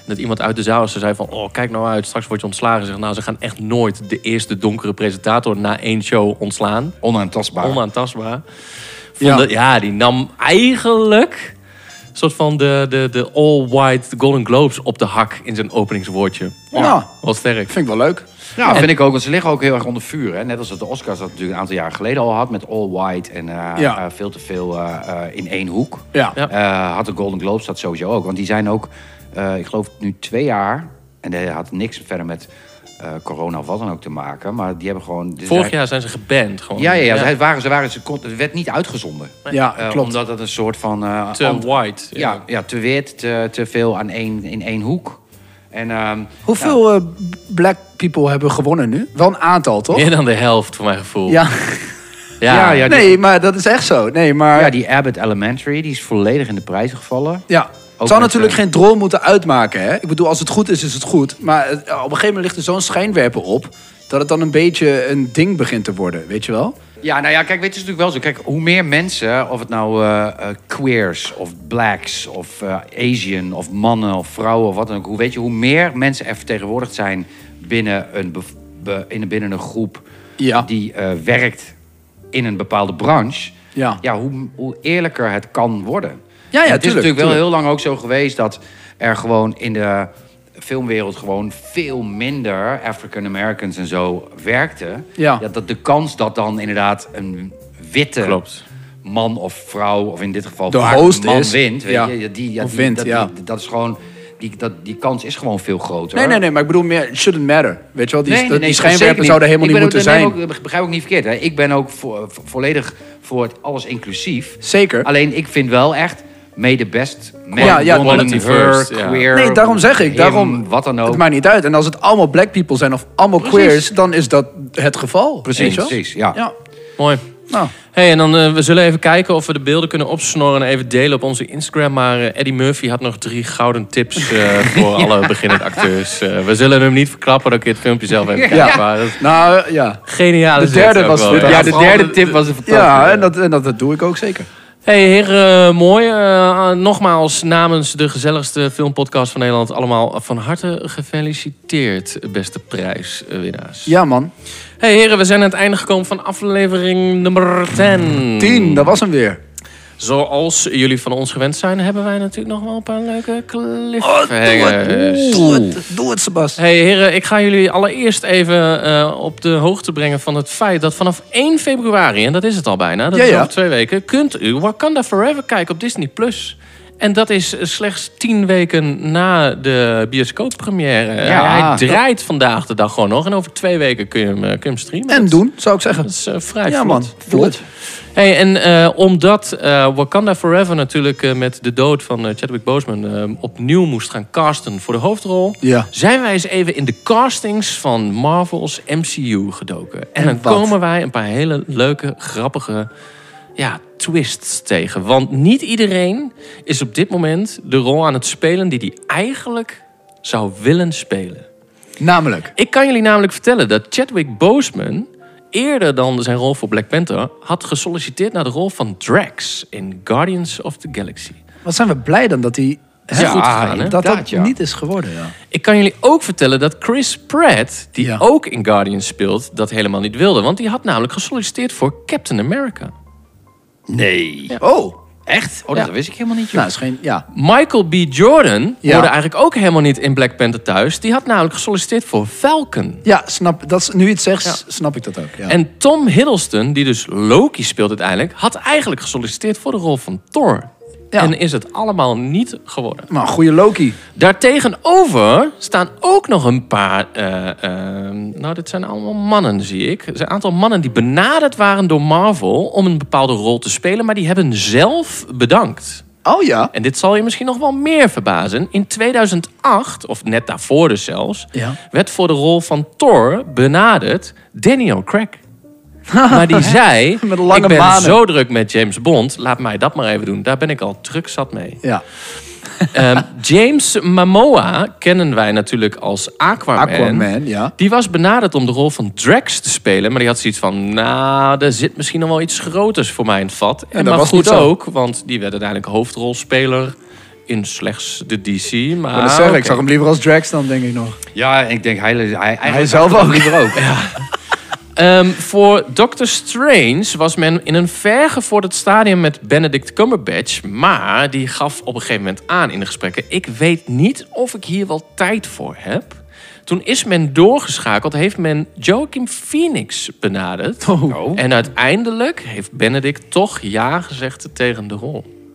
Speaker 6: En Dat iemand uit de zaal is, ze zei van, oh kijk nou uit, straks word je ontslagen. Zeg, nou, ze gaan echt nooit de eerste donkere presentator na één show ontslaan.
Speaker 5: Onaantastbaar.
Speaker 6: Onaantastbaar.
Speaker 4: Ja.
Speaker 6: Ja. ja, die nam eigenlijk een soort van de, de, de all-white Golden Globes op de hak in zijn openingswoordje.
Speaker 4: Ja.
Speaker 6: Wat sterk.
Speaker 4: Vind ik wel leuk.
Speaker 5: ja, Nou, vind ik ook. Want ze liggen ook heel erg onder vuur. Hè? Net als dat de Oscars dat natuurlijk een aantal jaren geleden al had. Met All White en eh,
Speaker 4: Ja.
Speaker 5: eh, veel te veel eh, eh, in één hoek.
Speaker 4: Ja.
Speaker 6: Ja.
Speaker 5: Eh, had de Golden Globes dat sowieso ook. Want die zijn ook, eh, ik geloof nu twee jaar... en dat had niks verder met eh, corona of wat dan ook te maken. Maar die hebben gewoon... die
Speaker 6: Vorig
Speaker 5: zijn-
Speaker 6: jaar zijn ze geband gewoon.
Speaker 5: Ja, ja, ja. Ze, waren, ze, waren, ze kon, het werd niet uitgezonden.
Speaker 4: Ja,
Speaker 5: Eh,
Speaker 4: klopt.
Speaker 5: Omdat het een soort van... eh,
Speaker 6: Te
Speaker 5: ant-
Speaker 6: white.
Speaker 5: ja, ja, te wit, te, te veel aan één, in één hoek. En, ehm,
Speaker 4: Hoeveel eh, black people hebben gewonnen nu? Wel een aantal, toch?
Speaker 6: Meer dan de helft, voor mijn gevoel.
Speaker 4: Ja.
Speaker 6: ja.
Speaker 5: Ja, ja. die-
Speaker 4: nee, maar dat is echt zo. Nee, maar...
Speaker 5: ja,
Speaker 4: Ja,
Speaker 5: die Abbott Elementary, die is volledig in de prijzen gevallen.
Speaker 4: Het zou
Speaker 5: met,
Speaker 4: natuurlijk
Speaker 5: eh,
Speaker 4: geen drol moeten uitmaken, hè? Ik bedoel, als het goed is, is het goed. Maar eh, op een gegeven moment ligt er zo'n schijnwerper op... dat het dan een beetje een ding begint te worden, weet je wel?
Speaker 5: Ja, nou ja, kijk, weet je, het is natuurlijk wel zo. Kijk, hoe meer mensen, of het nou eh, eh, queers of blacks of eh, Asian of mannen of vrouwen of wat dan ook, hoe weet je, hoe meer mensen er vertegenwoordigd zijn binnen een, bev- be- in, binnen een groep
Speaker 4: Ja.
Speaker 5: die eh, werkt in een bepaalde branche,
Speaker 4: Ja.
Speaker 5: ja hoe, hoe eerlijker het kan worden.
Speaker 4: Ja, ja,
Speaker 5: En het is
Speaker 4: tuurlijk,
Speaker 5: natuurlijk wel
Speaker 4: tuurlijk.
Speaker 5: heel lang ook zo geweest dat er gewoon in de filmwereld gewoon veel minder African Americans en zo werkten.
Speaker 4: Ja.
Speaker 5: dat de kans dat dan inderdaad een witte
Speaker 6: Klopt.
Speaker 5: man of vrouw, of in dit geval
Speaker 4: De
Speaker 5: vaak
Speaker 4: host
Speaker 5: man
Speaker 4: is-
Speaker 5: wint, weet
Speaker 4: ja.
Speaker 5: je, ja, die, ja,
Speaker 4: Of
Speaker 5: die-
Speaker 4: wint,
Speaker 5: dat,
Speaker 4: ja.
Speaker 5: die- dat is gewoon, die, dat, die kans is gewoon veel groter.
Speaker 4: Nee, nee, nee, maar ik bedoel meer, it shouldn't matter. Weet je wel, die, die schijnwerper
Speaker 5: schijnwerpen
Speaker 4: zou er helemaal niet moeten zijn.
Speaker 5: Ook, begrijp ook niet verkeerd. Hè? Ik ben ook vo- vo- volledig voor het alles inclusief.
Speaker 4: Zeker.
Speaker 5: Alleen ik vind wel echt... May the best man,
Speaker 4: Ja, ja,
Speaker 5: woman,
Speaker 6: quality
Speaker 5: her,
Speaker 6: first, ja.
Speaker 5: queer,
Speaker 4: Nee, daarom zeg ik.
Speaker 5: him,
Speaker 4: Daarom,
Speaker 5: wat dan
Speaker 4: Het
Speaker 5: ook.
Speaker 4: maakt niet uit. En als het allemaal black people zijn of allemaal
Speaker 5: Precies.
Speaker 4: queers, dan is dat het geval. weet
Speaker 5: Precies,
Speaker 4: je wel?
Speaker 5: precies, ja.
Speaker 4: ja.
Speaker 6: Mooi.
Speaker 4: Nou,
Speaker 6: Hey, en dan eh, we zullen even kijken of we de beelden kunnen opsnorren en even delen op onze Instagram. Maar eh, Eddie Murphy had nog drie gouden tips eh, voor alle beginnend acteurs. Eh, we zullen hem niet verklappen, dan kun je het filmpje zelf even
Speaker 4: Ja.
Speaker 6: kijken. Maar dat is een
Speaker 4: nou ja.
Speaker 6: geniale
Speaker 4: De
Speaker 6: zet
Speaker 4: derde
Speaker 6: ook
Speaker 4: was
Speaker 6: wel,
Speaker 4: goed.
Speaker 6: hè?
Speaker 5: Ja, de
Speaker 4: vooral
Speaker 5: derde
Speaker 4: de-
Speaker 5: tip was een fantastische.
Speaker 4: Ja, en dat, en dat, dat doe ik ook zeker.
Speaker 6: Hey heren, eh, mooi. Eh, nogmaals namens de gezelligste filmpodcast van Nederland allemaal van harte gefeliciteerd, beste prijswinnaars.
Speaker 4: Ja, man.
Speaker 6: Hey heren, we zijn aan het einde gekomen van aflevering nummer 10.
Speaker 4: Tien, dat was hem weer.
Speaker 6: Zoals jullie van ons gewend zijn, hebben wij natuurlijk nog wel een paar leuke
Speaker 4: Oeh,
Speaker 6: cliffhangers.
Speaker 4: Doe het, doe het Sebas.
Speaker 6: Hey heren, ik ga jullie allereerst even eh, op de hoogte brengen van het feit dat vanaf 1 februari, en dat is het al bijna, dat
Speaker 4: Ja,
Speaker 6: is
Speaker 4: ja.
Speaker 6: over twee weken, kunt u Wakanda Forever kijken op Disney+. Plus. En dat is eh, slechts tien weken na de bioscooppremière. Eh,
Speaker 5: Ja.
Speaker 6: Hij draait vandaag de dag gewoon nog. En over twee weken kun je hem, eh, kun je hem streamen.
Speaker 4: En
Speaker 6: Dat-
Speaker 4: doen, zou ik zeggen.
Speaker 6: Dat is eh, vrij
Speaker 4: Ja,
Speaker 6: vlot.
Speaker 4: man. Doe het.
Speaker 6: Hey, en eh, omdat eh, Wakanda Forever natuurlijk eh, met de dood van eh, Chadwick Boseman eh, opnieuw moest gaan casten voor de hoofdrol,
Speaker 4: Ja.
Speaker 6: zijn wij eens even in de castings van Marvel's MCU gedoken. En,
Speaker 4: En
Speaker 6: dan
Speaker 4: wat?
Speaker 6: komen wij een paar hele leuke, grappige ja, twists tegen. Want niet iedereen is op dit moment de rol aan het spelen die hij eigenlijk zou willen spelen.
Speaker 4: Namelijk.
Speaker 6: Ik kan jullie namelijk vertellen dat Chadwick Boseman eerder dan zijn rol voor Black Panther had gesolliciteerd naar de rol van Drax in Guardians of the Galaxy.
Speaker 4: Wat zijn we blij dan dat hij... hè,
Speaker 6: Ja,
Speaker 4: dat
Speaker 6: inderdaad,
Speaker 4: dat,
Speaker 5: ja.
Speaker 4: niet is geworden, ja.
Speaker 6: Ik kan jullie ook vertellen dat Chris Pratt, die
Speaker 4: Ja.
Speaker 6: ook in Guardians speelt, dat helemaal niet wilde, want die had namelijk gesolliciteerd voor Captain America.
Speaker 5: Nee.
Speaker 4: Oh,
Speaker 5: Echt? Oh, dat
Speaker 6: Ja.
Speaker 5: wist ik helemaal niet, joh.
Speaker 4: nou, is geen... Ja.
Speaker 6: Michael B. Jordan
Speaker 4: Ja.
Speaker 6: hoorde eigenlijk ook helemaal niet in Black Panther thuis. Die had namelijk gesolliciteerd voor Falcon.
Speaker 4: Ja, snap, dat, is- nu je het zegt,
Speaker 6: Ja.
Speaker 4: s- snap ik dat ook. Ja.
Speaker 6: En Tom Hiddleston, die dus Loki speelt uiteindelijk, had eigenlijk gesolliciteerd voor de rol van Thor.
Speaker 4: Ja.
Speaker 6: En is het allemaal niet geworden.
Speaker 4: Maar goede Loki.
Speaker 6: Daartegenover staan ook nog een paar. eh, eh, nou, dit zijn allemaal mannen, zie ik. Er zijn een aantal mannen die benaderd waren door Marvel om een bepaalde rol te spelen, maar die hebben zelf bedankt.
Speaker 4: Oh ja.
Speaker 6: En dit zal je misschien nog wel meer verbazen. In 2008, of net daarvoor dus zelfs,
Speaker 4: Ja.
Speaker 6: werd voor de rol van Thor benaderd Daniel Craig. Maar die zei,
Speaker 4: Met lange
Speaker 6: ik ben
Speaker 4: manen."
Speaker 6: zo druk met James Bond, laat mij dat maar even doen. Daar ben ik al druk zat mee.
Speaker 4: Ja.
Speaker 6: Ehm, James Momoa kennen wij natuurlijk als Aquaman.
Speaker 4: Aquaman, ja.
Speaker 6: Die was benaderd om de rol van Drax te spelen. Maar die had zoiets van, nou, er zit misschien nog wel iets groters voor mij in het vat. En,
Speaker 4: dat
Speaker 6: maar
Speaker 4: was niet
Speaker 6: goed
Speaker 4: zo.
Speaker 6: ook, want die werd uiteindelijk hoofdrolspeler in slechts de DC. Maar,
Speaker 4: Maar dat zeg ik.
Speaker 6: oké.
Speaker 4: Ik zag hem liever als Drax dan, denk ik nog.
Speaker 5: Ja, ik denk hij, hij,
Speaker 4: Hij zelf ook. Liever ook.
Speaker 6: Ehm, voor Doctor Strange was men in een vergevorderd stadium met Benedict Cumberbatch. Maar die gaf op een gegeven moment aan in de gesprekken: Ik weet niet of ik hier wel tijd voor heb. Toen is men doorgeschakeld, heeft men Joaquin Phoenix benaderd. En uiteindelijk heeft Benedict toch ja gezegd tegen de rol.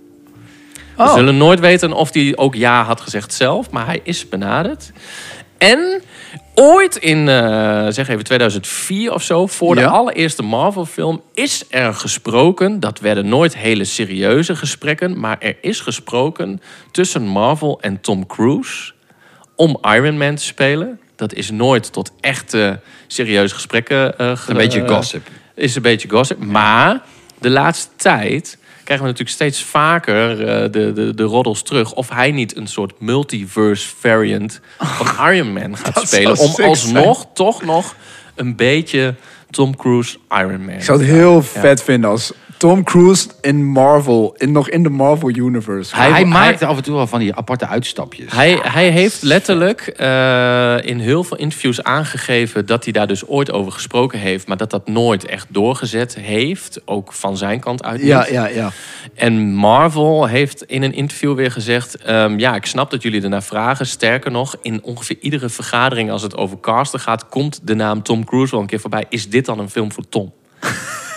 Speaker 6: We
Speaker 4: Oh.
Speaker 6: zullen nooit weten of hij ook ja had gezegd zelf, maar hij is benaderd. En ooit in, eh, zeg even 2004 of zo, voor de
Speaker 4: Ja.
Speaker 6: allereerste Marvel-film is er gesproken. Dat werden nooit hele serieuze gesprekken, maar er is gesproken tussen Marvel en Tom Cruise om Iron Man te spelen. Dat is nooit tot echte serieuze gesprekken eh ge-
Speaker 5: Een beetje
Speaker 6: eh,
Speaker 5: gossip.
Speaker 6: is een beetje gossip. Maar de laatste tijd krijgen we natuurlijk steeds vaker eh, de, de, de roddels terug. Of hij niet een soort multiverse variant van Iron Man gaat
Speaker 4: Oh, dat
Speaker 6: spelen.
Speaker 4: zou
Speaker 6: Om
Speaker 4: sick
Speaker 6: alsnog toch nog een beetje Tom Cruise Iron Man.
Speaker 4: Ik zou het heel vet vinden als Tom Cruise in Marvel, in, nog in de Marvel Universe.
Speaker 5: Hij,
Speaker 6: Hij- hij-
Speaker 5: maakte af en toe wel van die aparte uitstapjes.
Speaker 6: Hij, hij heeft letterlijk eh, in heel veel interviews aangegeven dat hij daar dus ooit over gesproken heeft, maar dat dat nooit echt doorgezet heeft, ook van zijn kant uit. niet.
Speaker 4: Ja, ja, ja.
Speaker 6: En Marvel heeft in een interview weer gezegd: ehm, Ja, ik snap dat jullie ernaar vragen. Sterker nog, in ongeveer iedere vergadering als het over casten gaat, komt de naam Tom Cruise wel een keer voorbij. Is dit dan een film voor Tom?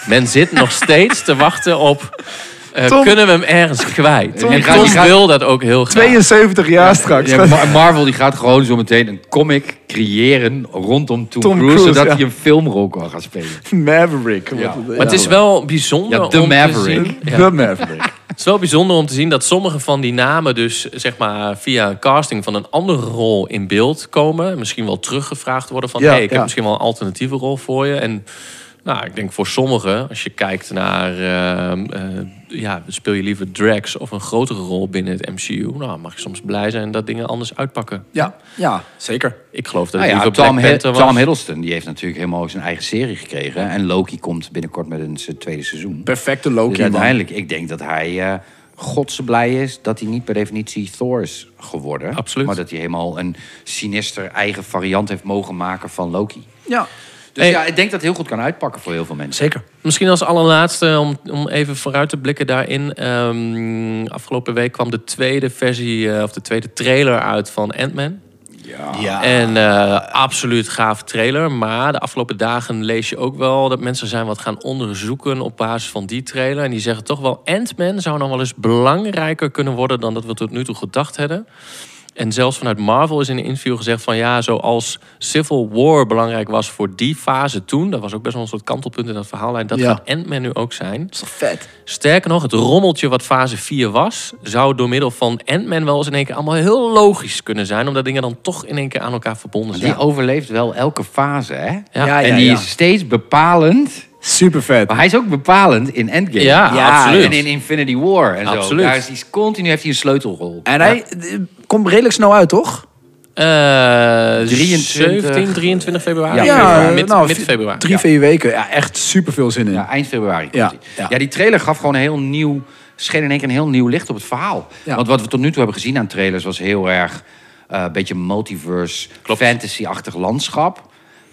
Speaker 6: Men zit nog steeds te wachten op. eh,
Speaker 4: Tom.
Speaker 6: Kunnen we hem ergens kwijt?
Speaker 5: Tom.
Speaker 6: en
Speaker 5: Je gaat-
Speaker 6: Tom
Speaker 5: je gaat-
Speaker 6: wil dat ook heel graag.
Speaker 4: 72 jaar straks.
Speaker 5: Ja, Mar- Marvel die gaat gewoon zo meteen een comic creëren rondom Tom,
Speaker 4: Tom
Speaker 5: Cruise,
Speaker 4: Cruise,
Speaker 5: zodat
Speaker 4: ja.
Speaker 5: hij een filmrol kan gaan spelen.
Speaker 4: Maverick.
Speaker 5: Ja.
Speaker 4: Wat-
Speaker 5: Maar
Speaker 6: Maar het is wel bijzonder
Speaker 5: Ja, The
Speaker 6: om te
Speaker 5: Maverick.
Speaker 6: zien.
Speaker 4: De
Speaker 6: Ja.
Speaker 4: Maverick.
Speaker 6: Het is wel bijzonder om te zien dat sommige van die namen dus zeg maar via een casting van een andere rol in beeld komen. Misschien wel teruggevraagd worden van
Speaker 4: Ja,
Speaker 6: hey, ik heb
Speaker 4: ja.
Speaker 6: misschien wel een alternatieve rol voor je. En nou, ik denk voor sommigen, als je kijkt naar ehm, eh, ja, speel je liever drags of een grotere rol binnen het MCU. Nou, mag je soms blij zijn dat dingen anders uitpakken.
Speaker 4: Ja, ja, zeker.
Speaker 6: Ik geloof dat
Speaker 5: Nou ja,
Speaker 6: liever
Speaker 5: Tom,
Speaker 6: Black
Speaker 5: Hi-
Speaker 6: Panther was.
Speaker 5: Tom Hiddleston die heeft natuurlijk helemaal zijn eigen serie gekregen. En Loki komt binnenkort met een se- tweede seizoen.
Speaker 4: Perfecte Loki,
Speaker 5: Dus uiteindelijk, ik denk dat hij eh godse blij is dat hij niet per definitie Thor is geworden.
Speaker 6: Absoluut.
Speaker 5: Maar dat hij helemaal een sinister eigen variant heeft mogen maken van Loki.
Speaker 4: man. Ja.
Speaker 5: Dus
Speaker 6: Hey.
Speaker 5: ja, ik denk dat het heel goed kan uitpakken voor heel veel mensen.
Speaker 4: Zeker.
Speaker 6: Misschien als allerlaatste, om, om even vooruit te blikken daarin. ehm, afgelopen week kwam de tweede versie, eh, of de tweede trailer uit van Ant-Man.
Speaker 7: Ja.
Speaker 6: En eh, absoluut gaaf trailer. Maar de afgelopen dagen lees je ook wel dat mensen zijn wat gaan onderzoeken op basis van die trailer. En die zeggen toch wel, Ant-Man zou nog wel eens belangrijker kunnen worden dan dat we tot nu toe gedacht hadden. En zelfs vanuit Marvel is in een interview gezegd van ja, zoals Civil War belangrijk was voor die fase toen, dat was ook best wel een soort kantelpunt in dat verhaallijn, dat
Speaker 4: Ja.
Speaker 6: gaat Ant-Man nu ook zijn.
Speaker 4: is toch vet?
Speaker 6: Sterker nog, het rommeltje wat fase 4 was, zou door middel van Ant-Man wel eens in één keer allemaal heel logisch kunnen zijn, omdat dingen dan toch in één keer aan elkaar verbonden
Speaker 5: Die
Speaker 6: zijn.
Speaker 5: overleeft wel elke fase, hè?
Speaker 6: Ja.
Speaker 4: Ja,
Speaker 5: en
Speaker 4: ja,
Speaker 5: die
Speaker 4: ja.
Speaker 5: is steeds bepalend.
Speaker 4: Super vet.
Speaker 5: Maar hij is ook bepalend in Endgame.
Speaker 6: Ja, absoluut.
Speaker 5: En in Infinity War en
Speaker 6: Absoluut.
Speaker 5: zo. Daar is hij continu heeft hij een sleutelrol.
Speaker 4: En hij eh, komt redelijk snel uit, toch?
Speaker 6: Eh,
Speaker 3: Dus
Speaker 5: 23
Speaker 6: 17, 23
Speaker 5: Ja,
Speaker 6: februari. februari.
Speaker 4: eh,
Speaker 6: Mid,
Speaker 4: nou,
Speaker 6: mid
Speaker 4: vi-
Speaker 6: februari.
Speaker 4: Drie, vier weken. Ja, echt super veel zin in.
Speaker 5: Ja, eind februari komt
Speaker 4: Ja,
Speaker 5: hij.
Speaker 4: ja.
Speaker 5: Ja. die trailer gaf gewoon een heel nieuw... scheen in één keer een heel nieuw licht op het verhaal.
Speaker 4: Ja.
Speaker 5: Want wat we tot nu toe hebben gezien aan trailers... was heel erg eh, een beetje multiverse, fantasy-achtig landschap...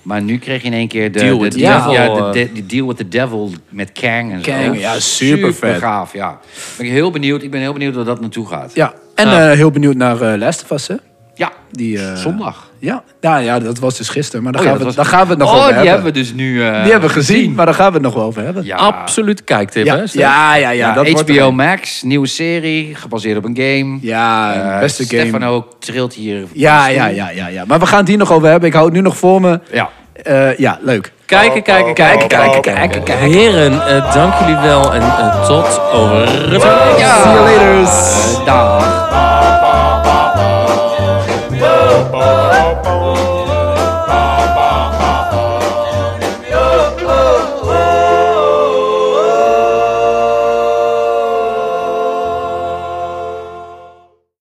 Speaker 5: Maar nu kreeg je in één keer de
Speaker 6: Deal
Speaker 5: de-
Speaker 6: with the
Speaker 5: ja,
Speaker 6: devil,
Speaker 5: ja, de,
Speaker 6: eh.
Speaker 5: de- die deal with the devil met Kang en zo.
Speaker 4: Kang, ja, supervet.
Speaker 5: gaaf, ja. Ben ik heel benieuwd. Ik ben heel benieuwd waar dat naartoe gaat.
Speaker 4: Ja. En
Speaker 6: Ja.
Speaker 4: eh, heel benieuwd naar eh Last of Us, hè?
Speaker 5: Ja,
Speaker 4: Die, eh,
Speaker 5: zondag.
Speaker 4: Ja. ja, ja, dat was dus gisteren. Maar daar,
Speaker 5: Oh ja,
Speaker 4: gaan, we,
Speaker 5: dat
Speaker 4: daar
Speaker 5: was-
Speaker 4: gaan we het nog
Speaker 5: oh,
Speaker 4: over
Speaker 5: die
Speaker 4: hebben.
Speaker 5: hebben we dus nu. eh,
Speaker 4: die hebben we gezien, maar daar gaan we het nog wel over hebben.
Speaker 5: Ja,
Speaker 6: Absoluut kijktip,
Speaker 4: ja,
Speaker 6: hè? Stef?
Speaker 4: ja, ja, ja,
Speaker 5: ja,
Speaker 4: dat wordt
Speaker 5: HBO
Speaker 4: er-
Speaker 5: Max, nieuwe serie, gebaseerd op een game.
Speaker 4: Ja,
Speaker 5: Eh,
Speaker 4: beste game.
Speaker 5: Stefano ook trilt hier. op
Speaker 4: Ja,
Speaker 5: de stoel.
Speaker 4: ja, ja, ja, ja. Maar we gaan het hier nog over hebben. Ik hou het nu nog voor me.
Speaker 5: Ja.
Speaker 4: Eh, ja, leuk.
Speaker 6: Kijken, kijken, kijken, kijken, kijken, kijken. Heren, eh, dank jullie wel en eh, tot over.
Speaker 4: See you later.
Speaker 5: Dag.